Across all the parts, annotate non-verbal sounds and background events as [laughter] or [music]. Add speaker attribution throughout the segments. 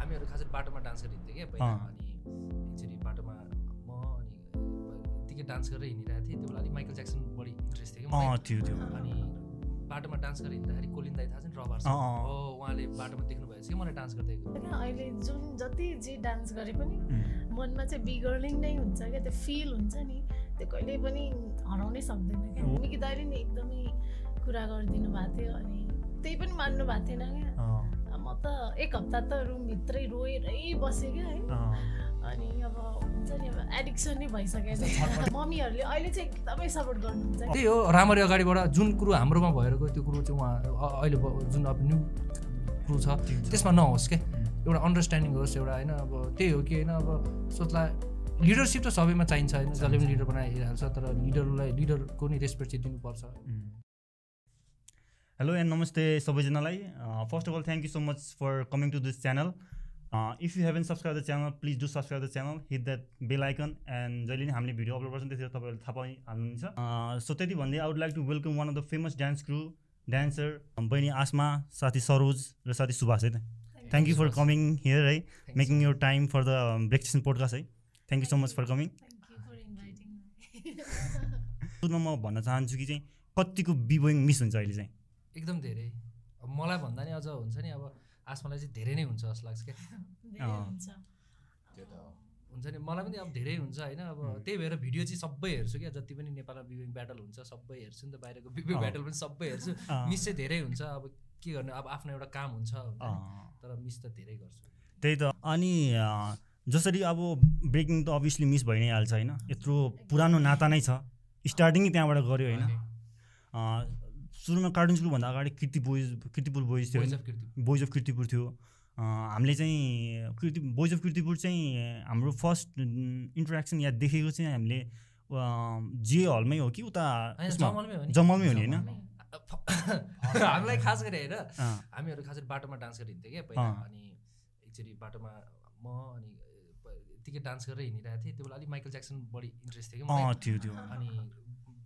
Speaker 1: हामीहरू खासै बाटोमा डान्स गरिरहेको थियो क्या पहिला
Speaker 2: अँ।
Speaker 1: अनि एकचोटि बाटोमा म अनि यत्तिकै डान्स गरेर हिँडिरहेको थिएँ त्यो बेला अलिक माइकल ज्याक्सन बढी इन्ट्रेस्ट थियो कि मलाई।
Speaker 2: अँ त्यो त्यो
Speaker 1: अनि बाटोमा डान्स गरेर हिँड्दाखेरि कोलिन दाई थाहा छ नि रबार
Speaker 2: अँ, अँ, अँ।
Speaker 1: हो उहाँले बाटोमा देख्नु भएछ कि मलाई डान्स गर्दै
Speaker 3: होइन अहिले जुन जति जे डान्स गरे पनि
Speaker 2: उम्,
Speaker 3: मनमा चाहिँ बिगर्लिङ नै हुन्छ क्या त्यो फिल हुन्छ नि त्यो कहिले पनि हराउनै सक्दैन क्या
Speaker 2: हो।
Speaker 3: मिकी दाइले नि एकदमै कुरा गरिदिनु भएको थियो अनि त्यही पनि मान्नु भएको थिएन क्या
Speaker 2: अँ,
Speaker 3: म त एक हप्ता त रुमभित्रै रोएरै बसेँ क्या है
Speaker 2: अँ,
Speaker 3: अनि अब हुन्छ नि अब एडिक्सन नै
Speaker 2: [laughs]
Speaker 3: भइसकेको छ मम्मीहरूले अहिले चाहिँ एकदमै सपोर्ट गर्नुहुन्छ
Speaker 1: त्यही हो राम्ररी अगाडिबाट जुन कुरो हाम्रोमा भएर गयो त्यो कुरो चाहिँ उहाँ अ- अहिले ब- जुन अब न्यू कुरो छ
Speaker 2: त्यो छ।
Speaker 1: त्यसमा नहोस् क्या
Speaker 2: उम्,
Speaker 1: एउटा अन्डरस्ट्यान्डिङ होस् एउटा होइन अब त्यही हो कि होइन अब सोच्ला लिडरसिप त सबैमा चाहिन्छ होइन जसले पनि लिडर बनाइहाल्छ तर लिडरलाई लिडरको नि रेस्पेक्ट चाहिँ दिनुपर्छ
Speaker 2: उम्। हेलो एन्ड नमस्ते सबैजनालाई first of all thank you so much for coming to this channel if you haven subscribe the channel please do subscribe the channel hit that bell icon and जहिले नै हामीले video upload गर्छौँ त्यसरी तपाईँहरूले थाहा पाइहाल्नुहुन्छ सो त्यति भन्दै I would like to welcome one of the famous dance crew dancer बहिनी आसमा साथी सरोज र साथी सुभाष है त thank you for coming here है making your time for the break session podcast है thank you so much for coming
Speaker 3: thank you for inviting [laughs]
Speaker 2: सुरुमा म भन्न चाहन्छु कि चाहिँ कतिको बिबोइङ मिस हुन्छ अहिले चाहिँ
Speaker 1: एकदम धेरै अब मलाई भन्दा नि अझ हुन्छ नि अब आसमालाई चाहिँ धेरै नै हुन्छ जस्तो लाग्छ क्या
Speaker 3: धेरै
Speaker 2: अँ।
Speaker 3: हुन्छ
Speaker 4: त्यो त हो।
Speaker 1: हुन्छ नि मलाई पनि अब धेरै हुन्छ होइन अब
Speaker 2: हुँ।
Speaker 1: त्यही भएर भिडियो चाहिँ सबै हेर्छु क्या जति पनि नेपालमा बिबिङ ब्याटल हुन्छ सबै हेर्छु नि त बाहिरको बिबिङ
Speaker 2: अँ।
Speaker 1: ब्याटल पनि सबै हेर्छु
Speaker 2: अँ।
Speaker 1: मिस चाहिँ धेरै हुन्छ अब के गर्ने अब आफ्नो एउटा काम हुन्छ हुन्छ नि।
Speaker 2: अँ,
Speaker 1: तर मिस त धेरै गर्छु
Speaker 2: त्यही त अनि अँ, जसरी अब ब्रेकिङ त अभियसली मिस भइ नै हाल्छ होइन यत्रो पुरानो नाता नै छ स्टार्टिङ त्यहाँबाट गऱ्यो होइन
Speaker 1: Okay.
Speaker 2: अँ, सुरुमा कार्टुन स्कुलभन्दा अगाडि कृति बोइज कृतिपुर बोइज थियो
Speaker 1: Voice
Speaker 2: होइन
Speaker 1: of Kirti।
Speaker 2: Boys of Kirtipur थियो अँ, हामीले चाहिँ कृति बोइज अफ कृतिपुर चाहिँ हाम्रो फर्स्ट इन्ट्रेक्सन या देखेको चाहिँ हामीले अँ, जे हलमै हो कि उता
Speaker 1: होइन,
Speaker 2: उसमा
Speaker 1: जमलमै हो नि।
Speaker 2: जमलमै हो नि होइन
Speaker 1: जमलमै। [laughs] हामीलाई खास गरी होइन
Speaker 2: अँ,
Speaker 1: हामीहरू खास गरी बाटोमा डान्स गरेर हिँड्थ्यो क्या पहिला
Speaker 2: अँ।
Speaker 1: अनि एकचोटि बाटोमा म अनि अ, यत्तिकै डान्स गरेर हिँडिरहेको थिएँ त्यो बेला अलिक माइकल ज्याक्सन बढी इन्ट्रेस्ट थियो कि मलाई।
Speaker 2: अँ त्यो त्यो
Speaker 1: अनि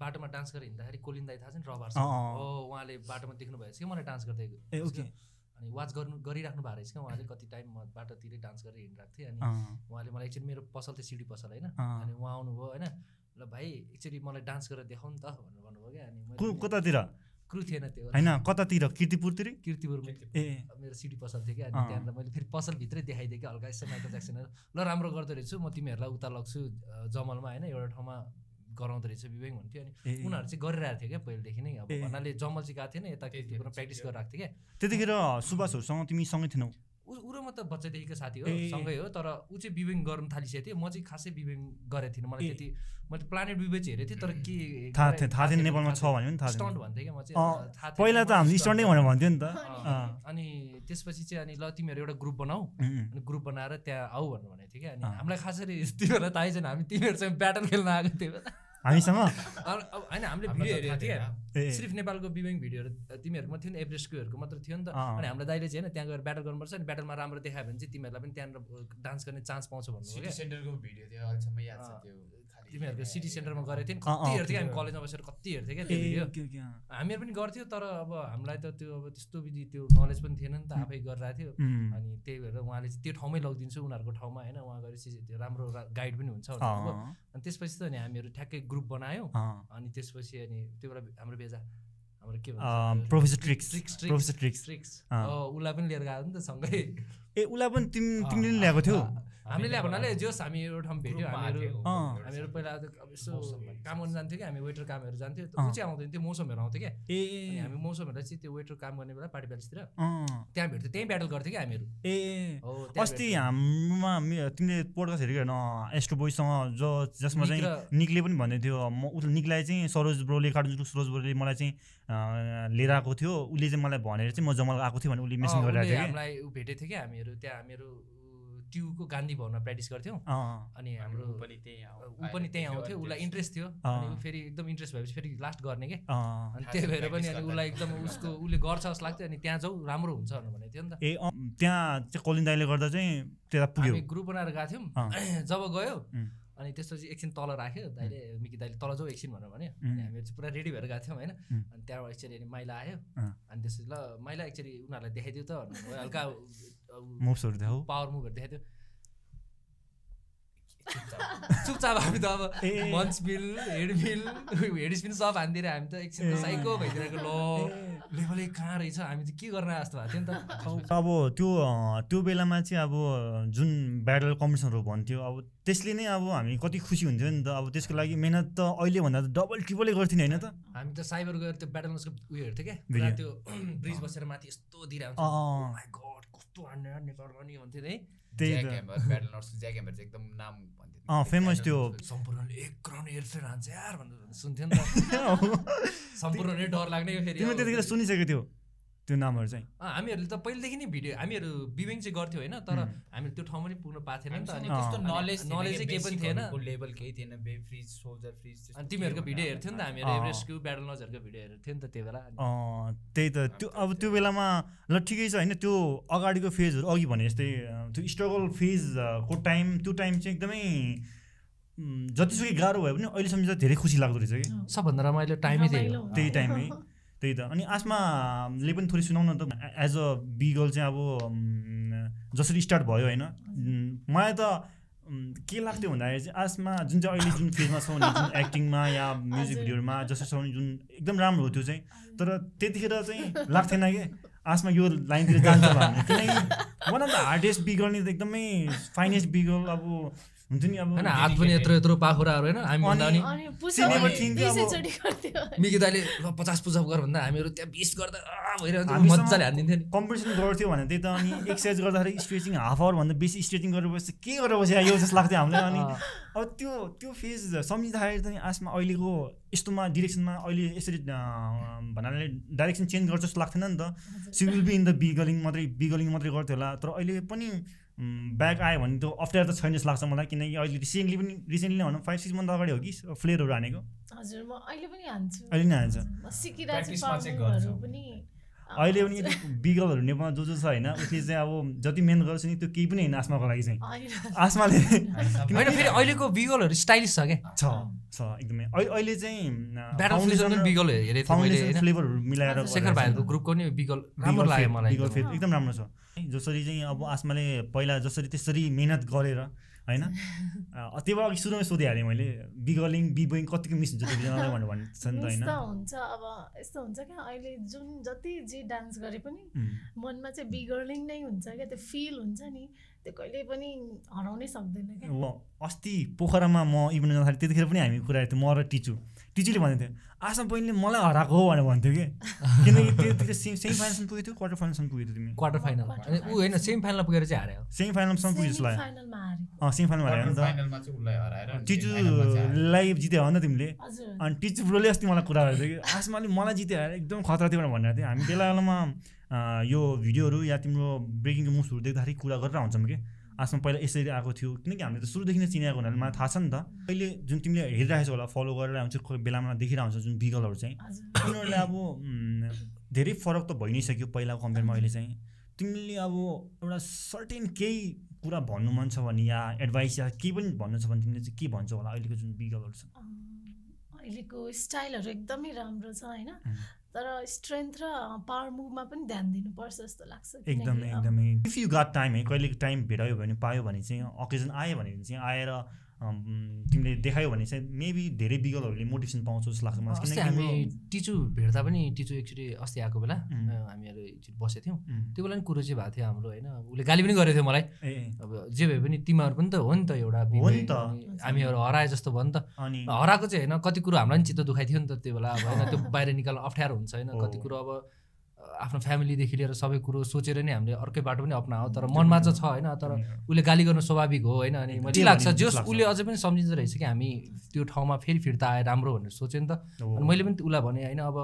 Speaker 1: बाटोमा डान्स गरेर हिँड्दाखेरि कोलिन दाई थाहा छ नि रबार
Speaker 2: अँ, अँ, अँ।
Speaker 1: हो उहाँले बाटोमा देख्नु भएछ कि मलाई डान्स गर्दै
Speaker 2: ए ओके
Speaker 1: अनि वाच गर्नु गरिराख्नु भएको रहेछ क्या उहाँले कति टाइम म बाटोतिरै डान्स गरेर हिँडिरहेको थिएँ अनि
Speaker 2: अँ,
Speaker 1: उहाँले मलाई एकचोटि मेरो पसल थियो सिडी पसल होइन
Speaker 2: अँ।
Speaker 1: अनि उहाँ आउनुभयो होइन ल भाइ एकचोटि मलाई डान्स गरेर देखाउ नि त भनेर भन्नुभयो क्या अनि मैले
Speaker 2: को
Speaker 1: भने,
Speaker 2: कतातिर
Speaker 1: क्रु थिएन त्यो
Speaker 2: होइन कतातिर कृतिपुरतिरै
Speaker 1: किर्तिपुरमा
Speaker 2: ए
Speaker 1: मेरो सिडी पसल थियो कि अनि
Speaker 2: अँ।
Speaker 1: त्यहाँनिर मैले फेरि पसलभित्रै देखाइदिएँ कि हल्का यसो माइकल ज्याक्सनहरू ल राम्रो गर्दो रहेछु म तिमीहरूलाई उता लग्छु अ, जमलमा होइन एउटा ठाउँमा गराउँदो रहेछ विवेक हुन्थ्यो अनि
Speaker 2: ए, ए।
Speaker 1: उनीहरू चाहिँ गरिरहेको थियो क्या पहिलेदेखि नै अब
Speaker 2: ए।
Speaker 1: भन्नाले जमल चाहिँ गएको थिएन यता किर्तिपुरमा प्र्याक्टिस गरिरहेको थियो क्या
Speaker 2: त्यतिखेर सुभाषहरूसँग तिमी सँगै थिएनौ
Speaker 1: ऊ ऊ र म त बच्चादेखिको साथी हो
Speaker 2: ए।
Speaker 1: सँगै हो तर ऊ चाहिँ विवेङ गर्नु थालिसकेको थियो म चाहिँ खासै विवेङ गरेको थिइनँ मलाई
Speaker 2: ए।
Speaker 1: त्यति मैले प्लानेट विवेक चाहिँ हेरेको थिएँ तर के
Speaker 2: थाहा थियो थाहा थिएन नेपालमा छ भने पनि थाहा
Speaker 1: स्टन्ट
Speaker 2: थिएन
Speaker 1: भन्थेँ क्या म चाहिँ
Speaker 2: अँ,
Speaker 1: अब थाहा थिएन,
Speaker 2: पहिला त
Speaker 1: मैले
Speaker 2: हामीले
Speaker 1: stunt
Speaker 2: स्टन्टै भनेर भन्थ्यो नि त अँ।
Speaker 1: अँ, अनि त्यसपछि चाहिँ अनि ल तिमीहरू एउटा ग्रुप बनाऊ
Speaker 2: उम्,
Speaker 1: अनि ग्रुप बनाएर त्यहाँ आऊ भन्नु भनेको थियो क्या अनि
Speaker 2: अँ।
Speaker 1: हामीलाई खास गरी त्यो बेला थाहै छैन हामी तिमीहरूसँग ब्याटल खेल्न आएको थियो
Speaker 2: हामीसँग
Speaker 1: अ- अब होइन हामीले
Speaker 4: हामीलाई
Speaker 1: भिडियो हेरेको
Speaker 4: त थाहा
Speaker 1: थियो
Speaker 4: थिएन।
Speaker 2: ए ए,
Speaker 1: सिर्फ नेपालको बिबिङ भिडियोहरू अ, तिमीहरूकोमा थियो नि एभरेस्टकोहरूको मात्र थियो नि त
Speaker 2: अँ।
Speaker 1: अनि हामीलाई दाइले चाहिँ होइन त्यहाँ गएर ब्याटल गर्नुपर्छ अनि ब्याटलमा राम्रो देखायो भने चाहिँ तिमीहरूलाई पनि त्यहाँनिर अ, डान्स गर्ने चान्स पाउँछ भन्नुभयो
Speaker 4: सिटी
Speaker 1: क्या
Speaker 4: सेन्टरको भिडियो थियो अहिलेसम्म याद छ
Speaker 1: अँ,
Speaker 4: त्यो खालि
Speaker 1: तिमीहरूको सिटी सेन्टरमा गरेको थियो नि
Speaker 2: अँ, अँ,
Speaker 1: कति हेर्थ्यो हामी
Speaker 4: त्यो-
Speaker 1: कलेजमा बसेर कति हेर्थ्यो क्या
Speaker 2: ए,
Speaker 1: त्यो भिडियो
Speaker 2: ओके, ओके, अँ।
Speaker 1: हामीहरू पनि गर्थ्यो तर अब हामीलाई त त्यो अब त्यस्तो विधि त्यो नलेज पनि थिएन नि त आफै गरिरहेको थियो
Speaker 2: उम्,
Speaker 1: अनि त्यही भएर उहाँले चाहिँ त्यो ठाउँमै लगिदिन्छु उनीहरूको ठाउँमा होइन उहाँ गरेपछि त्यो राम्रो गाइड पनि हुन्छ भनेर भन्नुभयो।
Speaker 2: अँ,
Speaker 1: अनि त्यसपछि त अनि हामीहरू ठ्याक्कै ग्रुप बनायौँ
Speaker 2: अँ।
Speaker 1: अनि त्यसपछि अनि त्यो बेला हाम्रो बेजा हाम्रो के
Speaker 2: अँ,
Speaker 1: भन्छ
Speaker 2: professor tricks
Speaker 1: tricks, tricks.
Speaker 2: Professor tricks
Speaker 1: स्ट्रिक्स
Speaker 2: अँ।
Speaker 1: उसलाई पनि लिएर गएको नि त सँगै
Speaker 2: ए उसलाई पनि तिमी
Speaker 1: अँ,
Speaker 2: तिमीले नि ल्याएको थियौ
Speaker 1: अँ, हामीले ल्याएको हुनाले जोस् हामी एउटा ठाउँ भेट्यो हामीहरू
Speaker 2: अँ।
Speaker 1: हामीहरू पहिला त अब यसो
Speaker 4: मौसममा।
Speaker 1: काम गर्नु जान्थ्यो कि हामी वेटर कामहरू जान्थ्यो त ऊ
Speaker 2: अँ।
Speaker 1: चाहिँ आउँदैन थियो मौसमहरू आउँथ्यो क्या
Speaker 2: ए
Speaker 1: अनि
Speaker 2: ए,
Speaker 1: हामी मौसमहरूलाई चाहिँ त्यो वेटर काम गर्ने बेला पार्टी ब्यालेन्सतिर
Speaker 2: अँ,
Speaker 1: त्यहाँ भेट्थ्यो त्यहीँ ब्याटल गर्थ्यो कि हामीहरू
Speaker 2: ए ए।
Speaker 1: हो त्यहाँ
Speaker 2: अस्ति
Speaker 1: भेट्थ्यो।
Speaker 2: हाम्रोमा मे- तिमीले पोडकास्ट हेरेको हेर्न एस्ट्रो बोइसँग जो जसमा
Speaker 1: निक
Speaker 2: चाहिँ
Speaker 1: र-
Speaker 2: निकले पनि भन्दै थियो म उसले निकलाई चाहिँ सरोज ब्रोले कार्टुन स्कुल सरोज ब्रोले मलाई चाहिँ अँ, लिएर आएको थियो उसले चाहिँ मलाई भनेर चाहिँ म जमल आएको थियो भने उसले मेसेज
Speaker 1: अँ, उसले
Speaker 2: गरिरहेको थियो कि
Speaker 1: हामीलाई ऊ भेटेको थियो कि हामीहरू त्यहाँ हामीहरू ऊ, ट्युको गान्धी भवनमा प्र्याक्टिस गर्थ्यौँ
Speaker 2: अँ,
Speaker 1: अनि हाम्रो
Speaker 4: हाम्रो
Speaker 1: ऊ
Speaker 4: पनि त्यहीँ आउ-
Speaker 1: पनि
Speaker 4: आएर
Speaker 1: त्यहीँ
Speaker 4: देख्यो,
Speaker 1: आउँथ्यो
Speaker 4: अनि
Speaker 1: उसलाई इन्ट्रेस्ट थियो
Speaker 2: अँ।
Speaker 1: अनि ऊ फेरि एकदम इन्ट्रेस्ट भएपछि फेरि लास्ट गर्ने क्या
Speaker 2: अँ।
Speaker 1: अनि
Speaker 4: थाहा
Speaker 1: त्यही
Speaker 4: छ,
Speaker 1: भएर पनि
Speaker 4: practice
Speaker 1: अनि
Speaker 4: गर्दा
Speaker 1: उसलाई
Speaker 4: नि
Speaker 1: एकदम
Speaker 4: गर्दा।
Speaker 1: उसको उसले गर्छ जस्तो लाग्थ्यो अनि त्यहाँ जाउँ राम्रो हुन्छ भनेर भनेको थियो नि त
Speaker 2: ए अँ, त्यहाँ चाहिँ कलिन दाइले गर्दा चाहिँ त्यता पुग्यो
Speaker 1: हामी ग्रुप बनाएर गएको थियौँ [clears throat] जब गयो
Speaker 2: उम्।
Speaker 1: अनि त्यसपछि एकछिन तल राख्यो दाइले मिकी दाइले तल जाऊ एकछिन भनेर भन्यो
Speaker 2: उम्।
Speaker 1: अनि हामीहरू चाहिँ पुरा रेडी भएर गएको थियौँ होइन
Speaker 2: उम्।
Speaker 1: अनि त्यहाँबाट एकचोटि अनि माइला आयो
Speaker 2: अँ। [laughs]
Speaker 1: अनि त्यसपछि ल माइला एकचोटि उनीहरूलाई देखाइदियो त भन्नुभयो। हल्का
Speaker 2: मुभ्सहरू देखाऊ
Speaker 1: पावर मुभहरू देखाएको
Speaker 2: [laughs]
Speaker 1: थियो चुपचाप हामी त अब
Speaker 2: ए, ए।
Speaker 1: मन्च bill head bill head spin सब हानिदिएर हामी त एकछिन त
Speaker 2: ए।
Speaker 1: साइको भइदिरहेको ल लेभल ए कहाँ रहेछ हामी चाहिँ के गर्न जस्तो भएको थियो नि
Speaker 2: [laughs]
Speaker 1: त अब
Speaker 2: अब त्यो अ, त्यो बेलामा चाहिँ अब जुन ब्याटल कम्पिटिसनहरू भन्थ्यो अब त्यसले नै अब हामी कति खुसी हुन्थ्यो नि त अब त्यसको लागि मेहनत त अहिलेभन्दा त डबल ट्रिपलै गर्थ्यो नि होइन त
Speaker 1: हामी त साइबर गएर त्यो ब्याटल उयोहरू उयो हेर्थ्यो क्या पुरा
Speaker 2: Video.
Speaker 1: त्यो [clears throat] ब्रिज बसेर माथि यस्तो दिइरहेको
Speaker 2: अँ, अँ,
Speaker 1: हुन्थ्यो
Speaker 2: अँ।
Speaker 1: माई गड कस्तो हान्ने हान्ने गर्ने भन्थ्यो नि है
Speaker 2: त्यही
Speaker 4: ज्याक
Speaker 2: त
Speaker 4: ह्यामर ब्याटल नर्सको ज्याक ह्यामर चाहिँ एकदम नाम भन्थ्यो
Speaker 2: अँ, famous त्यो
Speaker 1: सम्पूर्णले एक क्राउन एयरफेयर हान्छ यार भनेर सुन्थ्यो नि
Speaker 2: [laughs]
Speaker 1: त [laughs] सम्पूर्णले डर लाग्ने यो फेरि
Speaker 2: तिमीले
Speaker 1: अब-
Speaker 2: त्यतिखेर सुनिसकेको थियो त्यो नामहरू चाहिँ
Speaker 1: अँ, हामीहरूले त पहिलेदेखि नै भिडियो हामीहरू बिबिङ चाहिँ गर्थ्यो होइन तर
Speaker 2: हुँ।
Speaker 1: हामी त्यो ठाउँमा नि पुग्न पाएको थिएन नि त अनि
Speaker 2: अँ।
Speaker 4: त्यस्तो नलेज
Speaker 1: knowledge चाहिँ केही पनि थिएन।
Speaker 4: लेभल केही थिएन बे फ्रिज सोल्जर फ्रिज त्यस्तो
Speaker 1: अनि तिमीहरूको
Speaker 4: केही
Speaker 1: भिडियो
Speaker 4: हुँदैन।
Speaker 1: हेर्थ्यौ नि त हामीहरू
Speaker 2: अँ।
Speaker 1: एभरेस्टको ब्याटल नजहरूको भिडियो हेर्थ्यौ नि त त्यो बेला अनि
Speaker 2: अँ, त्यही त त्यो अब त्यो बेलामा ल ठिकै छ होइन त्यो अगाडिको फेजहरू अघि भने जस्तै अ, त्यो स्ट्रगल फेजको टाइम त्यो टाइम चाहिँ एकदमै उम्, जतिसुकै गाह्रो भयो भने अहिलेसम्म चाहिँ धेरै खुसी लाग्दो रहेछ कि
Speaker 1: सबभन्दा रमाइलो टाइमै त्यही
Speaker 3: रमाइलो
Speaker 1: हो
Speaker 3: हुन्छ।
Speaker 2: त्यही
Speaker 3: [laughs]
Speaker 2: टाइमै त्यही त अनि आसमाले पनि थोरै सुनाउन त एज अ बिगल चाहिँ अब उम्, जसरी स्टार्ट भयो होइन उम्, मलाई त उम्, के लाग्थ्यो भन्दाखेरि चाहिँ आसमा जुन चाहिँ अहिले जुन फेजमा छौ नि जुन एक्टिङमा या म्युजिक
Speaker 3: हजुर।
Speaker 2: भिडियोमा जसरी छौ नि जुन एकदम राम्रो हो त्यो चाहिँ तर त्यतिखेर चाहिँ लाग्थेन कि आसमा यो लाइनतिर जान्छ भन्ने किनकि वान अफ द हार्डेस्ट बिगल नि त एकदमै फाइनेस्ट बिगल अब हुन्थ्यो नि अब
Speaker 1: होइन हात पनि यत्रो यत्रो पाखुराहरू होइन हामी भन्दा
Speaker 2: अनि-
Speaker 1: अनि
Speaker 3: अनि
Speaker 2: चिने
Speaker 3: पुस्तक
Speaker 2: पनि
Speaker 3: बिस
Speaker 2: अब-
Speaker 3: चोटि गर्थ्यो
Speaker 1: मिकी दाले ल पचास पुजअप गर भन्दा हामीहरू त्यहाँ बिस गर्दा आ भइरहन्थ्यो
Speaker 2: हामीसँग-
Speaker 1: मजाले हानिदिन्थ्यो नि
Speaker 2: कम्पिटिसन गर्थ्यो भने त्यही त अनि एक्सर्साइज गर्दाखेरि स्ट्रेचिङ हाफ आवरभन्दा बेसी स्ट्रेचिङ गरेपछि के गरेर बस्यो यो जस्तो लाग्थ्यो हामीलाई अनि
Speaker 1: अँ,
Speaker 2: अब त्यो त्यो फेज सम्झिँदाखेरि त नि आसमा अहिलेको यस्तोमा डिरेक्सनमा अहिले यसरी अँ, भन्नाले डाइरेक्सन चेन्ज गर्छ जस्तो लाग्थेन नि त she will be in the बिगलिङ मात्रै बिगलिङ मात्रै गर्थ्यो होला तर अहिले पनि ब्याक आयो भने त्यो अप्ठ्यारो त छैन जस्तो लाग्छ मलाई किनकि अहिले रिसेन्टली पनि रिसेन्टली भनौँ फाइभ सिक्स मन्थ अगाडि हो कि फ्लेयरहरू हानेको
Speaker 3: हजुर म अहिले पनि हान्छु
Speaker 2: अहिले नै हान्छ
Speaker 3: म सिकिरहेको छु
Speaker 4: Practice-मा चाहिँ
Speaker 3: formula-हरू
Speaker 4: गर्छौ।
Speaker 3: पनि
Speaker 2: अहिले पनि यदि बिगलहरू नेपालमा जो जो छ होइन उसले चाहिँ अब जति मेहनत गर्छ नि त्यो केही पनि होइन आसमाको लागि चाहिँ
Speaker 3: अहिले- [laughs]
Speaker 2: आसमाले
Speaker 4: हामी
Speaker 1: होइन
Speaker 4: सबै-
Speaker 1: फेरि अहिलेको बिगलहरू स्टाइलिस छ क्या
Speaker 2: छ छ एकदमै अहिले अहिले चाहिँ अँ,
Speaker 1: ब्याटल
Speaker 2: foundation
Speaker 1: पनि
Speaker 2: र-
Speaker 1: बिगल हेरेको थिएँ मैले
Speaker 2: फाउन्डेसन
Speaker 1: होइन
Speaker 2: फ्लेभरहरू मिलाएर
Speaker 3: हजुर,
Speaker 1: शेखर
Speaker 2: गरेर
Speaker 1: भाइहरूको
Speaker 2: चाहिँ
Speaker 1: ग्रुपको नि बिगल
Speaker 2: बिगल
Speaker 1: राम्रो लाग्यो
Speaker 2: फेद-
Speaker 1: मलाई
Speaker 2: बिगल
Speaker 1: एकदम।
Speaker 2: फेद एकदम राम्रो छ जसरी चाहिँ अब आसमाले पहिला जसरी त्यसरी मेहनत गरेर होइन अँ, त्यो भएर अघि सुरुमै सोधिहालेँ मैले बिगलिङ बिबोइङ कतिको मिस हुन्छ दुईजनालाई भनेर भन्छ नि त
Speaker 3: मिस
Speaker 2: होइन
Speaker 3: त हुन्छ अब यस्तो हुन्छ क्या अहिले जुन जति जे डान्स गरे पनि
Speaker 2: उम्,
Speaker 3: मनमा चाहिँ बिगर्लिङ नै हुन्छ क्या त्यो फिल हुन्छ नि त्यो कहिले पनि हराउनै सक्दैन क्या
Speaker 2: ल अस्ति पोखरामा म इभेन्ट जाँदाखेरि त्यतिखेर पनि हामी कुरा हेर्थ्यौँ म र टिचु टिचुले भनेको थियो आशा बहिनीले मलाई हराएको हो भनेर भन्थ्यो कि किनकि त्यतिखेर सेमी सेमी फाइनलसम्म पुगेको थियो क्वार्टर फाइनलसम्म पुगेको थियो तिमी
Speaker 1: क्वार्टर फाइनल
Speaker 3: क्वार्टर
Speaker 1: अनि ऊ होइन सेमी फाइनलमा पुगेर चाहिँ हार्यो
Speaker 2: सेमी फाइनलसम्म पुग्यो जस्तो लाग्यो
Speaker 3: फाइनलमा हारेको
Speaker 2: अँ सेमी फाइनलमा हार्यो नि त
Speaker 4: Quarter final मा चाहिँ उसलाई हराएर अनि semi-final मा चाहिँ हार्यो।
Speaker 2: टिचुलाई जित्यो हो नि त तिमीले
Speaker 3: हजुर
Speaker 2: अनि टिचु ब्रोले अस्ति मलाई कुरा गरेको थियो कि आसमाले मलाई जित्यो हरे एकदम खतरा थियो भनेर भनेको थियो हामी बेला बेलामा अँ, यो भिडियोहरू या तिम्रो ब्रेकिङ मुभ्सहरू देख्दाखेरि कुरा गरेर हुन्छौँ कि आसमा पहिला यसरी आएको थियो किनकि हामीले त सुरुदेखि नै चिनेको हुनाले मलाई थाहा छ नि त अहिले जुन तिमीले हेरिरहेको छौ होला फलो गरेर हुन्छ कोही बेलामा देखिरहेको हुन्छ जुन बिगलहरू चाहिँ
Speaker 3: हजुर
Speaker 2: उनीहरूले अब उम्, धेरै फरक त भइ नै सक्यो पहिलाको कम्पेयरमा अहिले चाहिँ तिमीले अब एउटा सर्टेन केही कुरा भन्नु मन छ भने या एडभाइस या केही पनि भन्नु छ भने तिमीले चाहिँ के भन्छौ होला अहिलेको जुन बिगलहरू छ
Speaker 3: अम्, अहिलेको स्टाइलहरू एकदमै राम्रो छ होइन
Speaker 2: अँ।
Speaker 3: तर स्ट्रेन्थ र पावर मुभमा पनि ध्यान दिनुपर्छ जस्तो लाग्छ किनकि
Speaker 2: एकदमै
Speaker 3: अब
Speaker 2: एकदमै इफ यु गट टाइम है कहिले टाइम भेटायो भने पायो भने चाहिँ अकेजन आयो भने चाहिँ आएर अम, तिमीले देखायो भने चाहिँ मेबी धेरै बिगलहरूले मोटिभेसन पाउँछ जस्तो लाग्छ मलाई
Speaker 1: अस्ति
Speaker 2: किनकि
Speaker 1: हामी
Speaker 2: तिम्रो-
Speaker 1: टिचु भेट्दा पनि टिचु एकचोटि अस्ति आएको बेला
Speaker 2: उम्.
Speaker 1: अँ, हामीहरू एकचोटि बसेको थियौँ
Speaker 2: उम्,
Speaker 1: त्यो बेला नि कुरो चाहिँ भएको थियो हाम्रो होइन उसले गाली पनि गरेको थियो मलाई
Speaker 2: ए ए,
Speaker 1: अब जे भए पनि तिमीहरू पनि त हो नि त एउटा
Speaker 2: हो नि
Speaker 1: बिबे,
Speaker 2: त।
Speaker 1: अनि हामीहरू हराए जस्तो भयो नि त
Speaker 2: अनि
Speaker 1: हराएको चाहिँ होइन कति कुरो हामीलाई पनि चित्त दुखाइथ्यो नि त त्यो बेला अब होइन त्यो बाहिर निकाल्न अप्ठ्यारो हुन्छ होइन
Speaker 2: हो।
Speaker 1: कति कुरो अब अ, आफ्नो फ्यामिलीदेखि लिएर सबै कुरो सोचेर नै हामीले अर्कै बाटो पनि अप्नायो तर मनमा चाहिँ छ होइन तर उसले गाली गर्नु स्वाभाविक हो होइन अनि
Speaker 2: त्यो
Speaker 1: मलाई लाग्छ
Speaker 2: भने
Speaker 1: जस
Speaker 2: लाग्छ।
Speaker 1: उसले अझै पनि सम्झिँदो रहेछ कि हामी त्यो ठाउँमा फेरि फिर्ता आए राम्रो भनेर सोच्यो नि त
Speaker 2: हो।
Speaker 1: अनि मैले पनि उसलाई भने होइन अब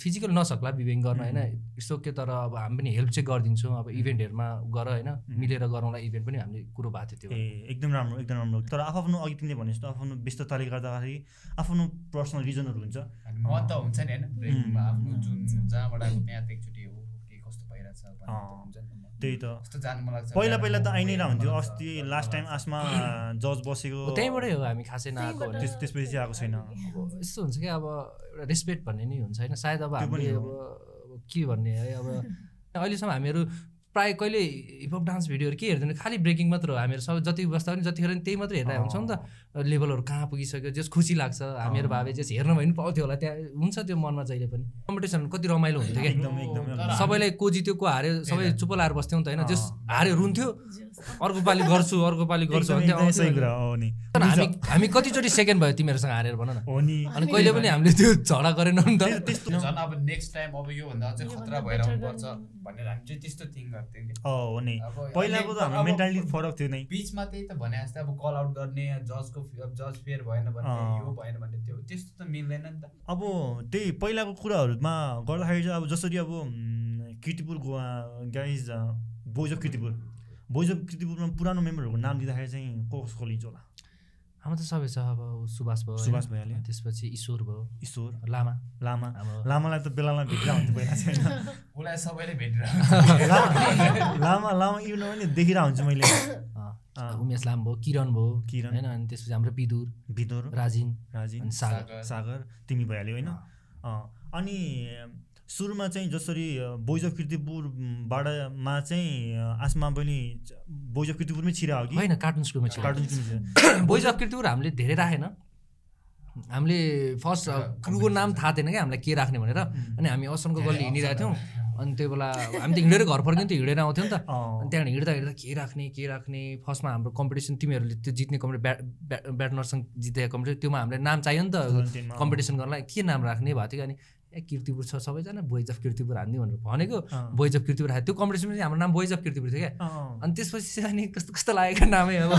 Speaker 1: फिजिकल नसक्ला बिबेङ गर्न होइन यसो के तर अब हामी पनि हेल्प चाहिँ गरिदिन्छौँ अब इभेन्टहरूमा गर होइन मिलेर गरौँला इभेन्ट पनि हामीले कुरो भएको थियो त्यो
Speaker 2: ए एकदम राम्रो एकदम राम्रो तर आफ्नो अघि तिमीले भने जस्तो आफ्नो व्यस्तताले गर्दाखेरि आफ्नो पर्सनल रिजनहरू हुन्छ
Speaker 4: अनि मन त हुन्छ नि होइन ब्रेकमा आफ्नो जुन
Speaker 3: हुन्छ।
Speaker 4: जहाँबाट आएको त्यहाँ त एकचोटि हो के कस्तो भइरहेछ भन्ने त
Speaker 2: अँ।
Speaker 4: हुन्छ नि त मन।
Speaker 2: त्यही त
Speaker 4: कस्तो जानु मन लाग्छ
Speaker 2: पहिला
Speaker 4: बाहिर
Speaker 2: पहिला त
Speaker 4: घुम्नु
Speaker 2: आइ नै रहन्थ्यो
Speaker 4: गएर मन लाग्छ,
Speaker 2: अस्ति
Speaker 4: गर्न
Speaker 2: लास्ट
Speaker 1: [laughs]
Speaker 4: मन
Speaker 2: टाइम
Speaker 4: लाग्छ।
Speaker 2: आसमा जज बसेको
Speaker 1: हो, त्यहीँबाटै हो हामी खासै नआएको
Speaker 3: त्यहीँबाट-
Speaker 1: भने
Speaker 2: त्यस- त्यसपछि चाहिँ आएको
Speaker 3: [laughs]
Speaker 2: छैन।
Speaker 1: अब यस्तो हुन्छ क्या अब एउटा रेस्पेक्ट भन्ने नि हुन्छ होइन सायद अब
Speaker 2: त्यो पनि
Speaker 1: हामीले अब [laughs]
Speaker 2: हो।
Speaker 1: अब के भन्ने है अब अहिलेसम्म हामीहरू प्रायः कहिले हिपहप डान्स भिडियोहरू के हेर्दैन खालि ब्रेकिङ मात्र हो हामीहरू सबै जति बस्दा पनि जतिखेर पनि त्यही मात्र हेर्दा हुन्छ नि त लेभलहरू कहाँ पुगिसक्यो जस खुसी लाग्छ हामीहरू भावे जस हेर्न भयो भने पाउँथ्यो होला त्यहाँ हुन्छ त्यो मनमा जहिले पनि कम्पिटिसन कति रमाइलो हुन्थ्यो क्या
Speaker 2: एकदम एकदम
Speaker 4: तर-
Speaker 1: सबैलाई को जित्यो को हार्यो सबै चुप लाएर बस्थ्यौँ त होइन जस हार्यो रुन्थ्यो
Speaker 4: [laughs]
Speaker 1: अर्को पालि गर्छु अर्को पालि गर्छु
Speaker 2: एकदम
Speaker 1: भन्थ्यो,
Speaker 2: एकदमै सही
Speaker 1: आउँथ्यो।
Speaker 2: कुरा हो नि
Speaker 1: तर हामी हामी कतिचोटि सेकेन्ड भयो तिमीहरूसँग हारेर भन न
Speaker 2: हो नि
Speaker 1: अनि कहिले पनि हामीले त्यो झगडा गरेनौँ नि त
Speaker 2: त्यस- त्यस्तो
Speaker 4: झन् अब नेक्स्ट टाइम अब योभन्दा अझै
Speaker 3: योभन्दा
Speaker 4: खतरा भएर
Speaker 3: better
Speaker 4: आउनुपर्छ
Speaker 3: गर्नु।
Speaker 4: भनेर हामी चाहिँ त्यस्तो थिङ्क गर्थ्यौँ कि
Speaker 2: अँ, हो नि
Speaker 4: अब
Speaker 2: पहिलाको त
Speaker 4: अहिले-
Speaker 2: हाम्रो
Speaker 4: अब-
Speaker 2: मेन्टालिटी फरक थियो नै
Speaker 4: बिचमा त्यही त भने जस्तै अब कल आउट गर्ने जजको जज फेयर भएन भने
Speaker 2: अँ।
Speaker 4: यो भएन भने त्यो त्यस्तो त मिल्दैन नि त
Speaker 2: अब त्यही पहिलाको कुराहरूमा गर्दाखेरि चाहिँ अब जसरी अब उम्, Kirtipur guys boys of Kirtipur boys of किर्तिपुरमा पुरानो मेम्बरहरूको नाम दिँदाखेरि चाहिँ को कसको लिन्छ होला
Speaker 1: हाम्रो त सबै छ अब सुभाष भयो होइन?
Speaker 2: सुभाष भइहाल्यो।
Speaker 1: त्यसपछि ईश्वर भयो
Speaker 2: ईश्वर
Speaker 1: लामा
Speaker 2: लामा
Speaker 1: हाम्रो-
Speaker 2: लामालाई त बेलामा भेटेर हुन्थ्यो पहिला चाहिँ होइन?
Speaker 4: उसलाई [laughs] सबैले
Speaker 1: [laughs]
Speaker 2: लामा
Speaker 4: भेटेर [laughs]
Speaker 2: [laughs] लामा लामा इभन पनि देखिरहेको हुन्छु मैले
Speaker 1: अँ,
Speaker 2: अँ।
Speaker 1: उमेश लाम भयो किरण भयो
Speaker 2: किरण।
Speaker 1: होइन अनि त्यसपछि हाम्रो पिदुर
Speaker 2: भिदोर
Speaker 1: राजिन
Speaker 2: राजिन
Speaker 1: अनि सागर
Speaker 4: सागर।
Speaker 2: सागर तिमी भइहाल्यो होइन अँ, अनि सुरुमा चाहिँ जसरी बोइज अफ किर्तिपुरबाटमा चाहिँ अँ, आसमा बहिनी बोइज अफ किर्तिपुरमै छिरा हो कि
Speaker 1: होइन कार्टुन स्कुलमा थियो
Speaker 2: कार्टुन फिल्म छिरा
Speaker 1: बोइज अफ किर्तिपुर हामीले धेरै राखेन हामीले फर्स्ट क्रुको नाम थाहा थिएन क्या हामीलाई के राख्ने भनेर अनि हामी असनको गल्ली हिँडिरहेको
Speaker 4: [laughs]
Speaker 1: थियौँ अनि त्यो बेला हामी त हिँडेर घर फर्किन्थ्यो हिँडेर आउँथ्यौँ नि त
Speaker 2: अँ,
Speaker 1: अनि त्यहाँबाट हिँड्दा हिँड्दा के राख्ने के राख्ने फर्स्टमा हाम्रो कम्पिटिसन तिमीहरूले त्यो जित्ने कम्पिटिसन ब्याट ब्याट ब्याटनरसँग जितेको कम्पिटिसन त्योमा हामीलाई नाम चाहियो नि त
Speaker 2: टेनमा।
Speaker 1: कम्पिटिसन गर्नलाई के नाम राख्ने भएको थियो अनि ए किर्तिपुर छ सबैजना बोइज अफ किर्तिपुर हान्ने भनेर भनेको
Speaker 2: अँ।
Speaker 1: बोइज अफ किर्तिपुर हाल्यो त्यो कम्पिटिसनमा चाहिँ हाम्रो नाम बोइज अफ किर्तिपुर थियो क्या
Speaker 2: अँ,
Speaker 1: अनि त्यसपछि चाहिँ अनि कस्तो कस्तो लागेको नामै अब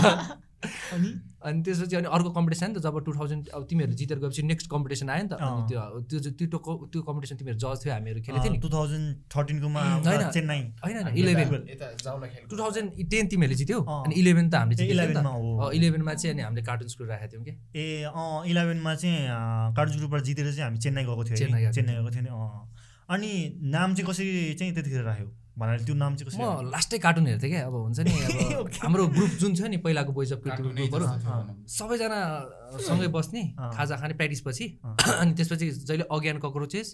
Speaker 2: [laughs] अनि
Speaker 1: अनि त्यसपछि अनि अर्को कम्पिटिसन नि त जब टु थाउजन्ड अब तिमीहरू जितेर गएपछि नेक्स्ट कम्पिटिसन आयो नि त अनि
Speaker 2: अँ।
Speaker 1: त्यो त्यो त्यो त्यो टोको- त्यो कम्पिटिसन तिमीहरू जज थियो हामीहरू खेलेको थियो नि
Speaker 2: टु थाउजन्ड थर्टिनकोमा
Speaker 1: [laughs] होइन।
Speaker 2: चेन्नाई
Speaker 1: होइन होइन इलेभेन
Speaker 2: Eleven.
Speaker 4: यता जाउला खेल
Speaker 1: टु थाउजन्ड टेन तिमीहरूले जित्यौ
Speaker 2: अँ।
Speaker 1: अनि इलेभेन त हामीले
Speaker 2: ए,
Speaker 1: जित्यौँ नि त।
Speaker 2: 11 मा हो।
Speaker 1: अँ, 11 मा चाहिँ अनि हामीले कार्टुन स्कुल राखेको थियौँ कि
Speaker 2: ए अँ इलेभेनमा चाहिँ कार्जु ग्रुपबाट जितेर चाहिँ हामी चेन्नाई गएको थियो
Speaker 1: चेन्नाई
Speaker 2: है
Speaker 1: गएको
Speaker 2: चेन्नाई गएको थियो नि अँ अनि नाम चाहिँ कसरी चाहिँ त्यतिखेर राख्यो भनेर त्यो नाम चाहिँ कसरी
Speaker 1: म लास्टै कार्टुन हेर्थेँ क्या अब हुन्छ नि अब हाम्रो ग्रुप जुन थियो नि पहिलाको बोइज अफ
Speaker 4: कार्टुन
Speaker 1: ग्रुपहरू सबैजना सँगै बस्ने
Speaker 2: अँ।
Speaker 1: खाजा खाने प्र्याक्टिसपछि
Speaker 2: अँ।
Speaker 1: [clears throat] अनि त्यसपछि जहिले अज्ञान कक्रोचेस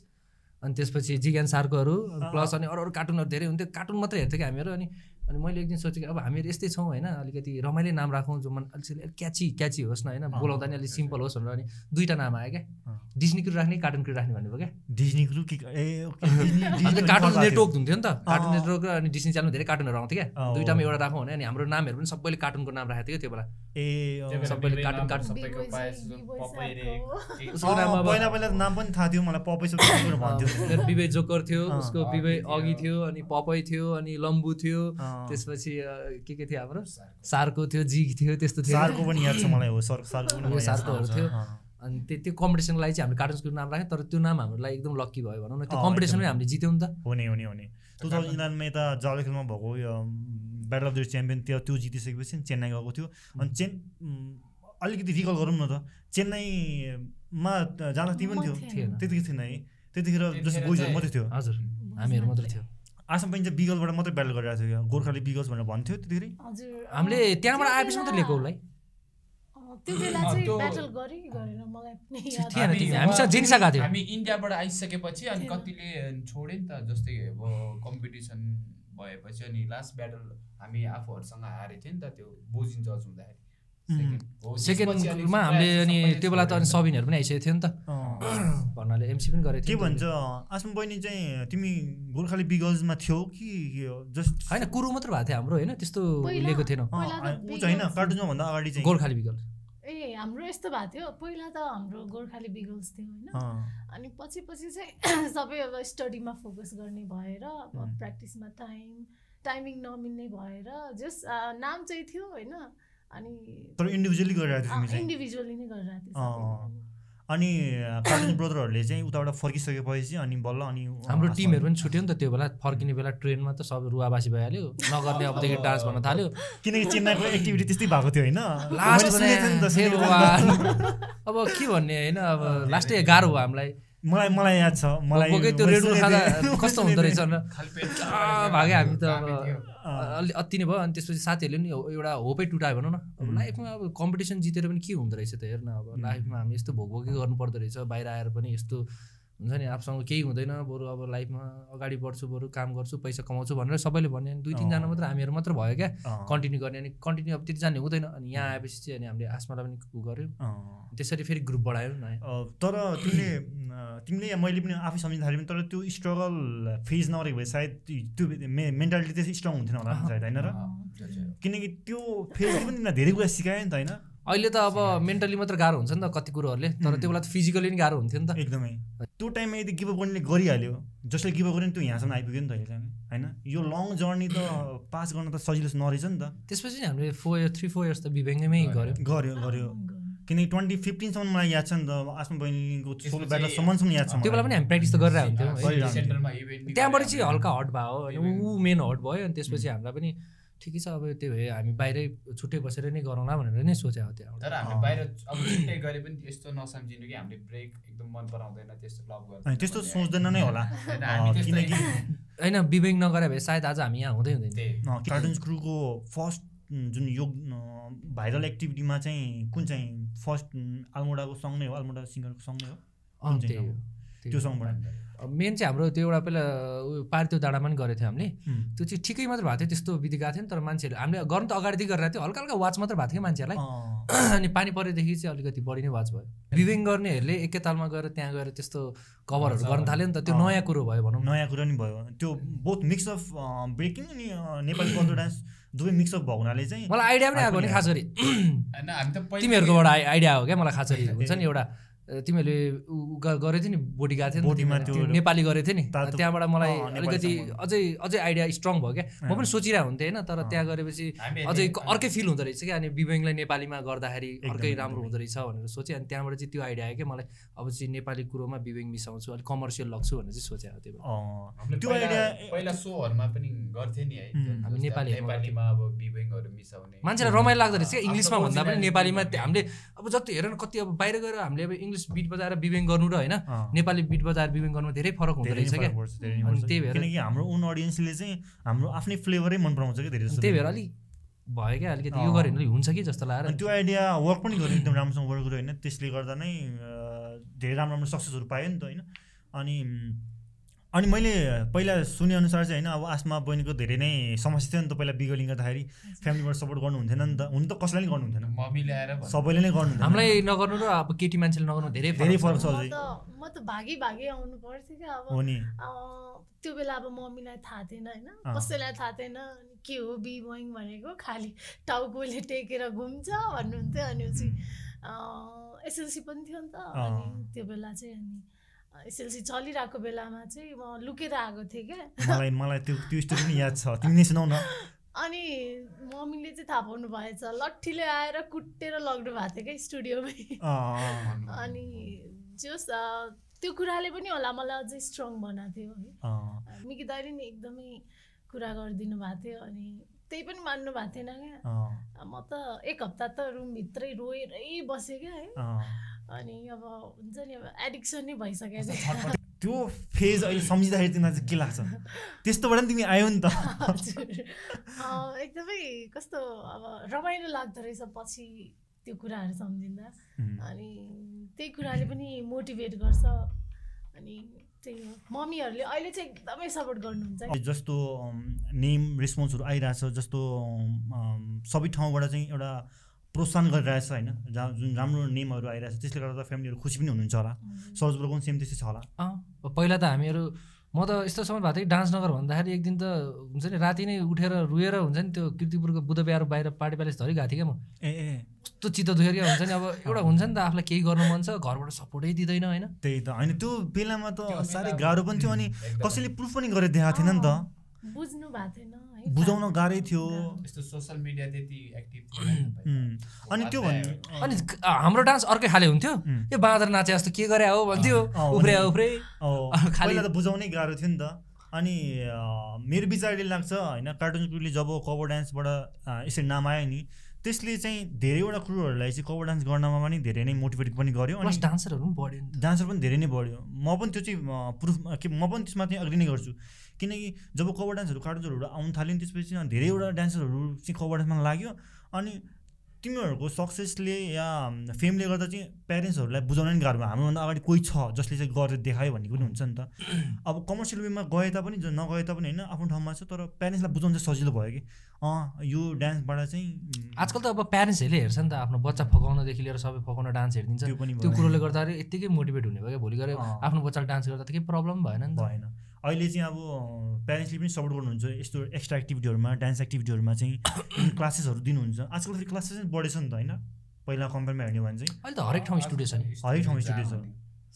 Speaker 1: अनि त्यसपछि जिज्ञान सार्कोहरू प्लस अनि अरू अरू कार्टुनहरू धेरै हुन्थ्यो कार्टुन मात्रै हेर्थ्यो कि हामीहरू अनि अनि मैले एक दिन सोचेँ कि अब हामीहरू यस्तै छौँ होइन अलिकति रमाइलो नाम राखौँ जो मन अलिक क्याची क्याची होस् न होइन
Speaker 2: अँ।
Speaker 1: बोलाउँदा नि अलिक सिम्पल होस् भनेर अनि दुईवटा नाम आयो क्या
Speaker 2: अँ।
Speaker 1: डिस्नी क्रिड राख्ने कार्टुन क्रिड राख्ने भन्नुभयो क्या
Speaker 2: डिजनी ग्रुप कि ए
Speaker 1: [laughs]
Speaker 2: ओके, डिज्नी-
Speaker 1: अन्त
Speaker 2: डिज्नी
Speaker 1: कार्टुन
Speaker 2: फर्काएको थियो।
Speaker 1: नेटवर्क हुन्थ्यो नि त कार्टुन नेटवर्क र अनि डिस्नी च्यानलमा धेरै कार्टुनहरू आउँथ्यो क्या
Speaker 2: अँ,
Speaker 1: दुइटामा
Speaker 2: हो।
Speaker 1: एउटा राखौँ भने अनि हाम्रो नामहरू पनि सबैले कार्टुनको नाम राखेको थियो क्या त्यो बेला
Speaker 2: ए अँ।
Speaker 1: बेला सबैले कार्टुन कार्टुन
Speaker 4: सबैको
Speaker 3: Big Boy
Speaker 4: पाएस
Speaker 3: Big Boy
Speaker 4: पपाई
Speaker 3: [laughs]
Speaker 4: रे [laughs]
Speaker 3: Sarko।
Speaker 4: के-
Speaker 1: उसको नाम
Speaker 2: अँ,
Speaker 1: अब-
Speaker 2: पहिला पहिला त नाम पनि थाहा थियो मलाई पपै सबै कुरो भन्थ्यो
Speaker 1: मेरो विवे जोकर थियो
Speaker 2: अँ,
Speaker 1: उसको
Speaker 4: अघि
Speaker 1: विवे
Speaker 4: थियो।
Speaker 1: अघि थियो अनि पपै थियो अनि लम्बु थियो
Speaker 2: अँ।
Speaker 1: त्यसपछि अ, के के थियो हाम्रो
Speaker 4: सार्को।
Speaker 1: सार्को थियो जिग थियो त्यस्तो थियो
Speaker 2: सार्को पनि याद छ मलाई हो सर सार्को पनि मलाई
Speaker 1: यो
Speaker 2: याद छ।
Speaker 1: सार्कोहरू थियो
Speaker 2: अँ।
Speaker 1: अनि त्यो त्यो कम्पिटिसनको लागि चाहिँ हामीले कार्टुन स्कुलको नाम राख्यौँ तर त्यो नाम हाम्रो लागि एकदम लक्की भयो भनौँ न त्यो
Speaker 2: अँ,
Speaker 1: कम्पिटिसनमै
Speaker 2: एकदम।
Speaker 1: हामीले जित्यौँ नि त
Speaker 2: हो नि हो नि हो नि टु थाउजन्ड इलेभेनमा यता जालो खेलमा भएको यो ब्याटल अफ द च्याम्पियन त्यो त्यो जितिसकेपछि चेन्नाई गएको थियो अनि चेन उम्, अलिकति रिकल गरौँ न त चेन्नाईमा जाँदा तिमी पनि
Speaker 3: म
Speaker 2: थियो
Speaker 1: थिएन।
Speaker 2: त्यतिखेर थिएन है त्यतिखेर जस्तो
Speaker 4: त्यतिखेर
Speaker 2: बोइजहरू
Speaker 4: चाहिँ-
Speaker 2: मात्रै थियो
Speaker 1: हजुर हामीहरू मात्र थियो
Speaker 2: आसाम पनि चाहिँ बिगलबाट मात्रै ब्याटल गरिरहेको थियो क्या गोर्खाली बिगल्स भनेर भन्थ्यो त्यतिखेर
Speaker 3: हजुर अँ,
Speaker 1: हामीले त्यहाँबाट
Speaker 3: त्यो
Speaker 1: आएपछि मात्र
Speaker 3: बेला-
Speaker 1: लिएको उसलाई
Speaker 3: अँ, त्यो बेला
Speaker 4: अँ,
Speaker 3: चाहिँ
Speaker 4: त्यो-
Speaker 3: battle गऱ्यो कि गरेन मलाई पनि याद
Speaker 1: थिएन,
Speaker 4: हामी-
Speaker 1: थिएन। हामीसँग जेनिसा गएको थियो।
Speaker 4: हामी इन्डियाबाट आइसकेपछि अनि
Speaker 3: थिएन।
Speaker 4: कतिले छोडे नि त जस्तै अब कम्पिटिसन भएपछि अनि लास्ट ब्याटल हामी आफूहरूसँग हारेको थियो नि त त्यो बोजिन जज हुँदाखेरि Second- Oh, हो, त्यसपछि अनि
Speaker 1: सेकेन्डमा हामीले
Speaker 4: प्रायः
Speaker 1: अनि
Speaker 4: सबैले
Speaker 1: त्यो बेला त अनि
Speaker 4: छोड्यो नि
Speaker 1: सबिनहरू पनि आइसकेको थियो नि त भन्नाले एमसी पनि गरेको
Speaker 2: के
Speaker 1: थियो नि
Speaker 2: भन्छ
Speaker 1: त।
Speaker 2: आसाम बहिनी चाहिँ तिमी गोर्खाली बिगल्समा थियो कि जस्ट
Speaker 1: होइन कुरु मात्र भएको थियो हाम्रो होइन त्यस्तो
Speaker 3: पहिला-
Speaker 1: लिएको थिएन
Speaker 2: अँ,
Speaker 3: पहिला त
Speaker 2: ऊ चाहिँ होइन
Speaker 3: बिगल्स-
Speaker 2: कार्टुनमा भन्दा अगाडि चाहिँ
Speaker 1: गोर्खाली विकल
Speaker 3: ए हाम्रो यस्तो भएको थियो पहिला त हाम्रो गोर्खाली बिगल्स थियो होइन
Speaker 2: अँ,
Speaker 3: अनि पछि पछि चाहिँ [clears throat] सबै अब स्टडीमा फोकस गर्ने भएर अब
Speaker 2: हुँ।
Speaker 3: प्र्याक्टिसमा टाइम टाइमिङ नमिल्ने भएर जस अँ, नाम चाहिँ थियो होइन अनि
Speaker 2: तर इन्डिभिजुअली गरिरहेको थियो
Speaker 3: अँ,
Speaker 2: तिमी चाहिँ
Speaker 3: इन्डिभिजुअली नै गरिरहेको थियो
Speaker 2: अँ,
Speaker 3: सबैजना।
Speaker 2: अनि कार्टुन ब्रदरहरूले चाहिँ उताबाट फर्किसकेपछि अनि बल्ल अनि
Speaker 1: हाम्रो टिमहरू पनि छुट्यो नि त त्यो बेला फर्किने बेला ट्रेनमा त सब रुवाबासी भइहाल्यो नगर्ने अबदेखि डान्स भन्न थाल्यो
Speaker 2: किनकि चेन्नाईको एक्टिभिटी त्यस्तै भएको थियो होइन
Speaker 1: लास्ट
Speaker 2: मैले सुनेको थिएँ नि त,
Speaker 1: फेरि
Speaker 2: सुनेको थिएँ नि त।
Speaker 1: वान। अब के भन्ने होइन अब लास्टै गाह्रो भयो हामीलाई
Speaker 2: मलाई मलाई याद छ मलाई
Speaker 1: भोकै त्यो
Speaker 2: मैले
Speaker 1: रेडुल
Speaker 2: सुनेको
Speaker 1: खाँदा
Speaker 2: [laughs] थिएँ।
Speaker 1: कस्तो हुँदो रहेछ भनेर
Speaker 4: खाली पेट
Speaker 1: आ, भाग्यो हामी त अब
Speaker 4: कामै थियो।
Speaker 2: अँ,
Speaker 1: अलि अति नै भयो अनि त्यसपछि साथीहरूले नि हो- एउटा होपै टुटायो भनौँ न अब
Speaker 2: हुँ।
Speaker 1: लाइफमा अब कम्पिटिसन जितेर पनि के हुँदो रहेछ त हेर्न अब
Speaker 2: हुँ।
Speaker 1: लाइफमा हामी यस्तो भोग भोगै गर्नुपर्दो रहेछ बाहिर आएर पनि यस्तो हुन्छ नि आफूसँग केही हुँदैन बरु अब लाइफमा अगाडि बढ्छु बरु काम गर्छु पैसा कमाउँछु भनेर सबैले भन्यो अनि दुई
Speaker 2: अँ।
Speaker 1: तिनजना मात्र हामीहरू मात्र भयो क्या
Speaker 2: अँ,
Speaker 1: कन्टिन्यू गर्ने अनि कन्टिन्यू अब त्यति जाने हुँदैन अनि यहाँ आएपछि चाहिँ अनि हामीले आसमालाई पनि उ गऱ्यौँ
Speaker 2: अँ।
Speaker 1: त्यसरी फेरि ग्रुप बढायौँ नयाँ
Speaker 2: अ, तर तिमीले म, तिमीले या मैले पनि आफै सम्झिँदाखेरि पनि तर त्यो स्ट्रगल फेज नरहेको भए सायद त्यो मे मेन्टालिटी त्यस्तो स्ट्रङ हुन्थेन होला सायद होइन र
Speaker 4: त्यो चाहिँ हो।
Speaker 2: किनकि त्यो फेजले पनि तिमीलाई धेरै कुरा सिकायो नि त होइन
Speaker 1: अहिले त अब मेन्टली मात्र गाह्रो हुन्छ नि त कति कुरोहरूले तर त्यो बेला त फिजिकली पनि गाह्रो हुन्थ्यो नि त
Speaker 2: एकदमै त्यो टाइममा यदि गिभ अप गर्नेले गरिहाल्यो जसले गिभ अप गर्यो नि त्यो यहाँसम्म आइपुग्यो नि त अहिलेसम्म होइन यो लङ जर्नी त पास गर्न त सजिलो नरहेछ नि त
Speaker 1: त्यसपछि नि हामीले four year three four years त बिभ्याङ्गैमै
Speaker 4: गऱ्यौँ।
Speaker 1: गऱ्यौँ
Speaker 2: गर्यो गर्यो किनकि ट्वेन्टी फिफ्टिनसम्म मलाई याद छ नि त आफ्नो बहिनीको सोलो ब्याटलसम्मसम्म याद छ
Speaker 1: त्यो बेला पनि हामी प्र्याक्टिस त गरिरहेको
Speaker 4: ah,
Speaker 1: हुन्थ्यौँ है
Speaker 2: गरिरहन्थ्यो।
Speaker 4: सेन्टरमा इभेन्ट पनि
Speaker 1: त्यहाँबाट
Speaker 4: गऱ्यो
Speaker 1: चाहिँ
Speaker 4: हामीले।
Speaker 1: हल्का हट भयो अनि
Speaker 4: त्यही
Speaker 1: ऊ मेन हट भयो अनि त्यसपछि हामीलाई पनि ठिकै छ अब त्यो भए हामी बाहिरै छुट्टै बसेर नै गरौँला भनेर नै सोचेको हो त्यहाँबाट
Speaker 4: तर हामीले
Speaker 2: अँ।
Speaker 4: बाहिर अब छुट्टै गरे पनि त्यस्तो नसम्झिनु कि हामीले ब्रेक एकदम मन पराउँदैन त्यस्तो लभ गर्दैन
Speaker 2: अनि त्यस्तो सोच्दैन नै होला
Speaker 4: होइन, [laughs] हामी
Speaker 2: अँ,
Speaker 4: त्यस्तो
Speaker 2: किनकि
Speaker 1: होइन बिबेङ नगरे भए सायद आज हामी यहाँ हुँदै हुँदैन
Speaker 4: त्यही
Speaker 2: कार्टुन क्रुको फर्स्ट जुन योग भाइरल एक्टिभिटीमा चाहिँ कुन चाहिँ फर्स्ट अल्मोडाको सङ नै हो अल्मोडा सिङ्गरको सङ नै हो
Speaker 1: अँ,
Speaker 2: कुन चाहिँ
Speaker 1: त्यही हो त्यही
Speaker 2: त्यो
Speaker 1: हो।
Speaker 2: सङबाट
Speaker 1: अब मेन चाहिँ हाम्रो त्यो एउटा पहिला उयो पारितो डाँडामा पनि गरेको थियौँ हामीले
Speaker 2: उम्,
Speaker 1: त्यो चाहिँ ठिकै मात्र भएको थियो त्यस्तो विधि गएको थियो नि तर मान्छेहरू हामीले गर्नु त अगाडिदेखि गरिरहेको थियो हल्का हल्का वाच मात्र भएको थियो मान्छेहरूलाई
Speaker 2: अँ,
Speaker 1: अनि पानी परेदेखि चाहिँ अलिकति बढी नै वाच भयो विभिङ गर्नेहरूले एकैतालमा गएर त्यहाँ गएर त्यस्तो कभरहरू गर्न थाल्यो नि त त्यो
Speaker 2: अँ।
Speaker 1: नयाँ कुरो भयो भनौँ न
Speaker 2: नयाँ कुरा नि भयो त्यो बोथ मिक्स अफ ब्रेकिङ अनि अँ, नेपाली कल्चर डान्स दुवै मिक्स अफ भएको हुनाले चाहिँ
Speaker 1: मलाई आइडिया पनि
Speaker 2: आइ
Speaker 1: आएको नि
Speaker 2: पनि
Speaker 1: खास गरी
Speaker 4: होइन हामी त पहिला-
Speaker 1: तिमीहरूकोबाट आइ आइडिया हो क्या मलाई खास गरी
Speaker 2: ए,
Speaker 1: हुन्छ नि एउटा अ, तिमीहरूले उ उ ग- गरेको थियो नि बोडी गएको थियो नि
Speaker 2: बोडीमा
Speaker 1: तिमीहरूले,
Speaker 2: त्यो
Speaker 1: त्यो नेपाली गरेको थियो नि
Speaker 2: तातो-
Speaker 1: त्यहाँबाट मलाई
Speaker 2: अँ, नेपाली
Speaker 1: अलिकति
Speaker 2: सङ्गमा।
Speaker 1: अझै अझै आइडिया स्ट्रङ भयो क्या म
Speaker 2: अँ।
Speaker 1: पनि सोचिरहेको हुन्थेँ होइन तर
Speaker 2: अँ।
Speaker 1: त्यहाँ गरेपछि
Speaker 4: हामी
Speaker 1: अझै
Speaker 4: हेर्ने-
Speaker 1: क- अर्कै फिल हुँदो रहेछ क्या अनि विवेङलाई नेपालीमा गर्दाखेरि अर्कै
Speaker 2: एकदमै,
Speaker 1: राम्रो
Speaker 2: एकदमै।
Speaker 1: हुँदो रहेछ भनेर सोचेँ अनि त्यहाँबाट चाहिँ त्यो आइडिया आयो क्या मलाई अब चाहिँ नेपाली कुरोमा विवेङ मिसाउँछु अलिक कमर्सियल लग्छु भनेर चाहिँ सोचेको त्यो बेला।
Speaker 2: अँ,
Speaker 4: हामीले
Speaker 2: त्यो
Speaker 4: पहिला-
Speaker 2: आइडिया
Speaker 4: पहिला सोहरूमा पनि गर्थ्यो नि है
Speaker 2: उम्,
Speaker 4: जस्तो
Speaker 1: हामी
Speaker 4: अब
Speaker 1: नेपालीहरूमा
Speaker 4: नेपालीमा अब बिबेङहरू मिसाउने
Speaker 1: मान्छेलाई रमाइलो लाग्दो रहेछ क्या
Speaker 4: आफ्नो
Speaker 1: इङ्ग्लिसमा भन्दा पनि
Speaker 4: originality
Speaker 1: नेपालीमा
Speaker 4: भन्ने।
Speaker 1: त्यो हामीले अब जति हेर न कति अब बाहिर गएर हामीले अब इङ्ग्लिस बिट बजाएर विवेङ गर्नु र होइन
Speaker 2: अँ,
Speaker 1: नेपाली बिट बजाएर विवेङ गर्नुमा धेरै फरक हुँदो
Speaker 2: धेरै नै
Speaker 1: रहेछ क्या
Speaker 2: फरक पर्छ, धेरै नै
Speaker 1: अनि
Speaker 2: पर्छ।
Speaker 1: त्यही भएर-
Speaker 2: किनकि हाम्रो ओन अडियन्सले चाहिँ हाम्रो आफ्नै फ्लेभरै मन पराउँछ क्या धेरै
Speaker 1: अनि
Speaker 2: जस्तो
Speaker 1: त्यही भएर अलिक भयो क्या अलिकति यो
Speaker 2: अँ।
Speaker 1: गऱ्यो भने अलिक हुन्छ कि जस्तो
Speaker 2: अनि
Speaker 1: लागेर
Speaker 2: त्यो आइडिया वर्क पनि गर्यो एकदम राम्रोसँग वर्क गर्यो होइन त्यसले गर्दा नै अ, धेरै राम्रो राम्रो सक्सेसहरू पायो नि त होइन अनि म, अनि मैले पहिला सुनेअनुसार चाहिँ होइन अब आसमा बहिनीको धेरै नै समस्या थियो नि त पहिला बिगलिङ गर्दाखेरि फ्यामिलीबाट सपोर्ट गर्नुहुन्थेन नि त हुन त कसैलाई नै
Speaker 4: [laughs]
Speaker 2: गर्नुहुन्थेन
Speaker 4: मम्मी ल्याएर भन्नु।
Speaker 2: सबैले नै गर्नुहुन्थेन
Speaker 1: हामीलाई नगर्नु र अब केटी मान्छेले नगर्नु धेरै
Speaker 2: धेरै
Speaker 1: फरक छ।
Speaker 2: फरक छ अझै
Speaker 3: म [laughs] त म त भागी भागी आउनु पर्थ्यो क्या अब
Speaker 2: हो नि
Speaker 3: अँ, त्यो बेला अब मम्मीलाई थाहा थिएन होइन
Speaker 2: अँ।
Speaker 3: कसैलाई थाहा थिएन अनि के हो बिबोइङ भनेको खालि टाउकोले टेकेर घुम्छ भन्नुहुन्थ्यो अनि पछि एसएलसी पनि थियो नि त अनि
Speaker 2: अँ।
Speaker 3: त्यो बेला चाहिँ अनि एसएलसी चलिरहेको बेलामा चाहिँ म लुकेर आएको थिएँ क्या
Speaker 2: मलाई मलाई त्यो त्यो स्टोरी पनि याद छ तिमी नै सुनाउ न
Speaker 3: अनि मम्मीले चाहिँ थाहा पाउनु भएछ लट्ठीले आएर कुटेर लग्नु भएको थियो क्या स्टुडियोमै
Speaker 2: अ, अ,
Speaker 4: भन्नु।
Speaker 3: अनि जस अ, त्यो कुराले पनि होला मलाई अझै स्ट्रङ बनाएको थियो है
Speaker 2: अ,
Speaker 3: मिकी दाइले नि एकदमै कुरा गरिदिनु भएको थियो अनि त्यही पनि मान्नु भएको थिएन क्या
Speaker 2: अ,
Speaker 3: म त एक हप्ता त रुमभित्रै रोएरै बसेँ क्या है
Speaker 2: अ।
Speaker 3: अनि अब हुन्छ नि अब एडिक्सन नै भइसक्यो चाहिँ।
Speaker 2: त्यो फेज अहिले सम्झिँदाखेरि तिमीलाई चाहिँ के लाग्छ त्यस्तोबाट पनि तिमी आयो नि त [laughs]
Speaker 3: हजुर अ, एकदमै कस्तो अब रमाइलो लाग्दो रहेछ पछि त्यो कुराहरू सम्झिँदा
Speaker 2: उम्,
Speaker 3: अनि त्यही कुराले पनि मोटिभेट गर्छ अनि त्यही हो मम्मीहरूले अहिले चाहिँ एकदमै सपोर्ट गर्नुहुन्छ
Speaker 2: अब जस्तो अम, नेम रेस्पोन्सहरू आइरहेछ जस्तो अम, सबै ठाउँबाट चाहिँ एउटा प्रोत्साहन गरिरहेछ होइन जहाँ जुन राम्रो नेमहरू आइरहेछ त्यसले गर्दा फ्यामिलीहरू खुसी पनि हुनुहुन्छ होला सर्च ब्रोको पनि सेम त्यस्तै छ होला
Speaker 1: अँ, अब पहिला त हामीहरू म त यस्तो समय भएको थियो कि डान्स नगर भन्दाखेरि एक दिन त हुन्छ नि राति नै उठेर रोएर हुन्छ नि त्यो किर्तिपुरको बुधबिहार बाहिर पार्टी प्यालेस धरि गएको थिएँ क्या म
Speaker 2: ए ए
Speaker 1: कस्तो चित्त दुखेर क्या हुन्छ नि
Speaker 2: [laughs]
Speaker 1: अब एउटा हुन्छ नि त आफूलाई केही गर्नु मन छ घरबाट सपोर्टै दिँदैन होइन
Speaker 2: त्यही त होइन त्यो बेलामा त
Speaker 4: त्यो बेला-
Speaker 2: साह्रै गाह्रो पनि थियो अनि
Speaker 4: एकदम।
Speaker 2: कसैले प्रुफ पनि गरेर देखाएको थिएन नि त
Speaker 3: बुझ्नु भएको थिएन है
Speaker 2: बुझाउन गाह्रै थियो
Speaker 4: यस्तो सोसल मिडिया त्यति एक्टिभ थिएन नि त
Speaker 2: उम्,
Speaker 4: पहिला।
Speaker 2: अनि त्यो भन्नु
Speaker 1: अनि क- हाम्रो डान्स अर्कै खाले हुन्थ्यो
Speaker 2: उम्,
Speaker 1: यो बाँदर नाचे जस्तो के गरे हो भन्थ्यो
Speaker 2: अँ,
Speaker 1: उफ्रे
Speaker 2: अनि-
Speaker 1: उफ्रे
Speaker 2: अँ, [laughs]
Speaker 1: खालि-
Speaker 2: पहिला त बुझाउनै गाह्रो थियो नि त अनि अँ, मेरो विचारले लाग्छ होइन कार्टुन क्रुले जब कभर डान्सबाट अँ, यसरी नाम आयो नि त्यसले चाहिँ धेरैवटा क्रुहरूलाई चाहिँ कभर डान्स गर्नमा पनि धेरै नै मोटिभेट पनि गर्यो अनि
Speaker 1: प्लस डान्सरहरू पनि बढ्यो नि त
Speaker 2: डान्सर पनि धेरै नै बढ्यो म पनि त्यो चाहिँ अँ, प्रुफ के म पनि त्यसमा चाहिँ अग्री नै गर्छु किनकि जब
Speaker 1: Mm.
Speaker 2: कभर डान्सहरू कार्टुन्सहरू आउनु थाल्यो नि त्यसपछि अँ, धेरैवटा डान्सरहरू चाहिँ कभर डान्समा लाग्यो अनि तिमीहरूको सक्सेसले या फेमले गर्दा चाहिँ प्यारेन्ट्सहरूलाई बुझाउन नि गाह्रो भयो हाम्रोभन्दा अगाडि कोही छ जसले चाहिँ गरेर देखायो भन्ने पनि हुन्छ नि त अब कमर्सियल वेमा गए तापनि ज- नगए तापनि होइन आफ्नो ठाउँमा छ तर प्यारेन्ट्सलाई बुझाउनु चाहिँ सजिलो भयो कि अँ यो डान्सबाट चाहिँ उम्,
Speaker 1: आजकल त अब प्यारेन्ट्सहरूले हेर्छ नि त आफ्नो बच्चा फकाउनदेखि लिएर सबै फकाउन डान्स हेरिदिन्छ
Speaker 2: त्यो पनि
Speaker 1: त्यो
Speaker 2: भयो।
Speaker 1: कुरोले गर्दाखेरि यत्तिकै मोटिभेट हुने भयो क्या भोलि गएर
Speaker 2: अँ।
Speaker 1: आफ्नो बच्चाले डान्स गर्दा त केही प्रब्लम भएन नि त
Speaker 2: भएन अहिले चाहिँ अब प्यारेन्ट्सले पनि सपोर्ट गर्नुहुन्छ यस्तो एक्स्ट्रा एक्टिभिटीहरूमा डान्स एक्टिभिटीहरूमा चाहिँ [clears throat] क्लासेसहरू दिनुहुन्छ आजकल फेरि क्लासेस चाहिँ बढेछ नि त होइन पहिला कम्पेयरमा हेर्ने भने चाहिँ
Speaker 1: अहिले त हरेक ठाउँ स्टुडियो छ नि
Speaker 2: हरेक ठाउँ स्टुडियो छ।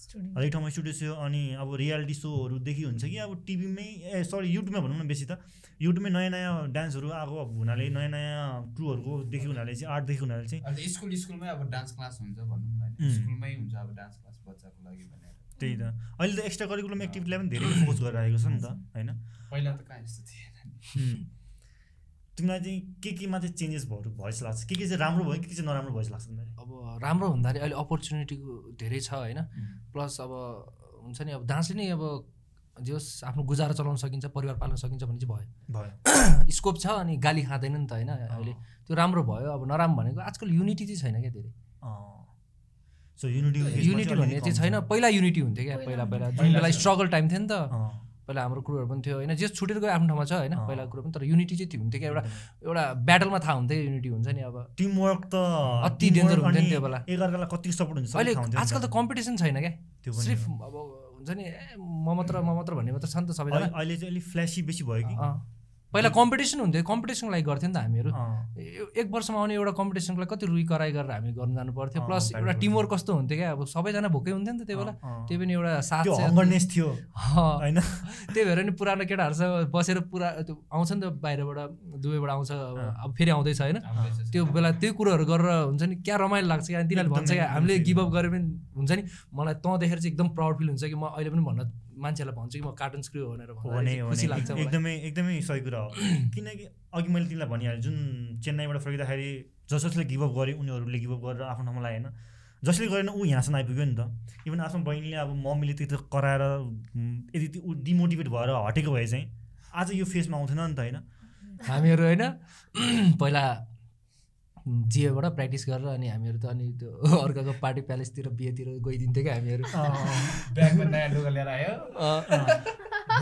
Speaker 3: स्टुडेन्ट
Speaker 2: हरेक ठाउँमा स्टुडियो थियो अनि अब रियालिटी सोहरूदेखि हुन्छ कि अब टिभीमै ए सरी युट्युबमा भनौँ न बेसी त युट्युबमै नयाँ नयाँ डान्सहरू आएको हुनाले नयाँ नयाँ क्रुहरूको देखि हुनाले चाहिँ आर्टदेखि हुनाले चाहिँ
Speaker 4: अन्त स्कुल स्कुलमै अब डान्स क्लास हुन्छ भनौँ
Speaker 2: उम्।
Speaker 4: न होइन स्कुलमै हुन्छ अब डान्स क्लास बच्चाको लागि भनेर
Speaker 2: त्यही त अहिले त एक्स्ट्रा करिकुलम एक्टिभिटीलाई पनि धेरै फोकस गरिरहेको छ नि त होइन
Speaker 4: पहिला त कहाँ यस्तो थिएन नि।
Speaker 2: तिमीलाई चाहिँ के केमा चाहिँ चेन्जेस भयो भोइस लाग्छ के के चाहिँ राम्रो भयो के के चाहिँ नराम्रो भोइस लाग्छ तिमीलाई
Speaker 1: अब राम्रो भन्दाखेरि अहिले अपर्च्युनिटीको धेरै छ होइन प्लस अब हुन्छ नि अब डान्सले नै अब जे होस् आफ्नो गुजारा चलाउन सकिन्छ परिवार पाल्न सकिन्छ भन्ने चाहिँ
Speaker 2: भयो
Speaker 1: भयो स्कोप छ अनि गाली खाँदैन नि त होइन अहिले त्यो राम्रो भयो अब नराम्रो भनेको आजकल युनिटी चाहिँ छैन क्या धेरै
Speaker 2: सो युनिटी
Speaker 1: युनिटी भन्ने चाहिँ छैन पहिला युनिटी हुन्थ्यो क्या पहिला
Speaker 3: पहिला
Speaker 1: पहिला
Speaker 4: हुन्थ्यो।
Speaker 1: जुन बेला
Speaker 4: पहिला चाहिँ-
Speaker 1: स्ट्रगल टाइम थियो नि त पहिला हाम्रो कुरोहरू पनि थियो होइन जे छुटेर गयो आफ्नो ठाउँमा छ होइन
Speaker 2: अँ।
Speaker 1: पहिलाको कुरो पनि तर युनिटी चाहिँ त्यो हुन्थ्यो क्या एउटा एउटा ब्याटलमा थाहा हुन्थ्यो युनिटी हुन्छ नि अब
Speaker 2: टिम वर्क त
Speaker 1: अति
Speaker 2: teamwork
Speaker 1: danger हुन्थ्यो नि
Speaker 2: अनि
Speaker 1: त्यो बेला।
Speaker 2: एकअर्कालाई कति सपोर्ट हुन्छ
Speaker 1: अहिले आजकल त कम्पिटिसन छैन क्या
Speaker 2: त्यो पनि
Speaker 1: सिर्फ
Speaker 2: हो।
Speaker 1: अब हुन्छ नि ए म मात्र म मात्र भन्ने मात्र छ नि त सबैजना
Speaker 2: अहिले अहिले चाहिँ अलिक फ्ल्यासी बेसी भयो कि
Speaker 1: अँ। पहिला कम्पिटिसन हुन्थ्यो कम्पिटिसनको लागि गर्थ्यो नि त हामीहरू
Speaker 2: अँ,
Speaker 1: ए- एक वर्षमा आउने एउटा कम्पिटिसनको लागि कति रुई कराई गरेर हामी गर्नु जानु पर्थ्यो
Speaker 2: अँ,
Speaker 1: प्लस एउटा
Speaker 2: बाहिर
Speaker 1: टिमवर्क कस्तो हुन्थ्यो क्या अब सबैजना भोकै हुन्थ्यो नि त त्यो बेला
Speaker 2: अँ, अँ।
Speaker 1: त्यही पनि एउटा साथ
Speaker 2: त्यो
Speaker 1: चाहिँ-
Speaker 2: हङ्गरनेस थियो
Speaker 1: अँ।
Speaker 2: होइन
Speaker 1: त्यही भएर नि पुरानो केटाहरूसँग बसेर पुरा त्यो आउँछ नि त बाहिरबाट दुबईबाट आउँछ अब फेरि आउँदैछ होइन
Speaker 4: आउँदैछ सर।
Speaker 1: त्यो बेला त्यो कुरोहरू गरेर हुन्छ नि क्या रमाइलो लाग्छ क्या अनि तिनीहरूले भन्छ
Speaker 2: एकदमै,
Speaker 1: क्या हामीले
Speaker 2: एकदमै।
Speaker 1: गिभअप गरे पनि हुन्छ नि मलाई तँ देखेर चाहिँ एकदम प्राउड फिल हुन्छ कि म अहिले पनि भन्न मान्छेहरूलाई भन्छु कि म कार्टुन स्क्रियो भनेर भन्दा
Speaker 2: भने
Speaker 1: चाहिँ खुसी लाग्छ
Speaker 2: भने
Speaker 1: मलाई।
Speaker 2: एकदमै एकदमै सही कुरा
Speaker 1: [clears throat]
Speaker 2: हो किनकि अघि मैले तिमीलाई भनिहालेँ जुन चेन्नाईबाट फर्किँदाखेरि जस जसले गिभअप गरे उनीहरूले गिभअप गरेर आफ्नो ठाउँमा लगाएन जसले गरेन ऊ यहाँसम्म आइपुग्यो नि त इभन आफ्नो बहिनीले अब मम्मीले त्यति कराएर उम्, यदि त्यो ऊ डिमोटिभेट भएर हटेको भए चाहिँ आज यो फेजमा आउँथेन नि त होइन
Speaker 1: हामीहरू होइन [clears throat] पहिला जियोबाट प्र्याक्टिस गरेर अनि हामीहरू त अनि त्यो [laughs] अर्काको पार्टी प्यालेसतिर बिहेतिर गइदिन्थ्यो क्या हामीहरू
Speaker 4: ब्यागमा नयाँ लुगा लिएर
Speaker 1: [laughs]
Speaker 4: आयो
Speaker 1: अँ।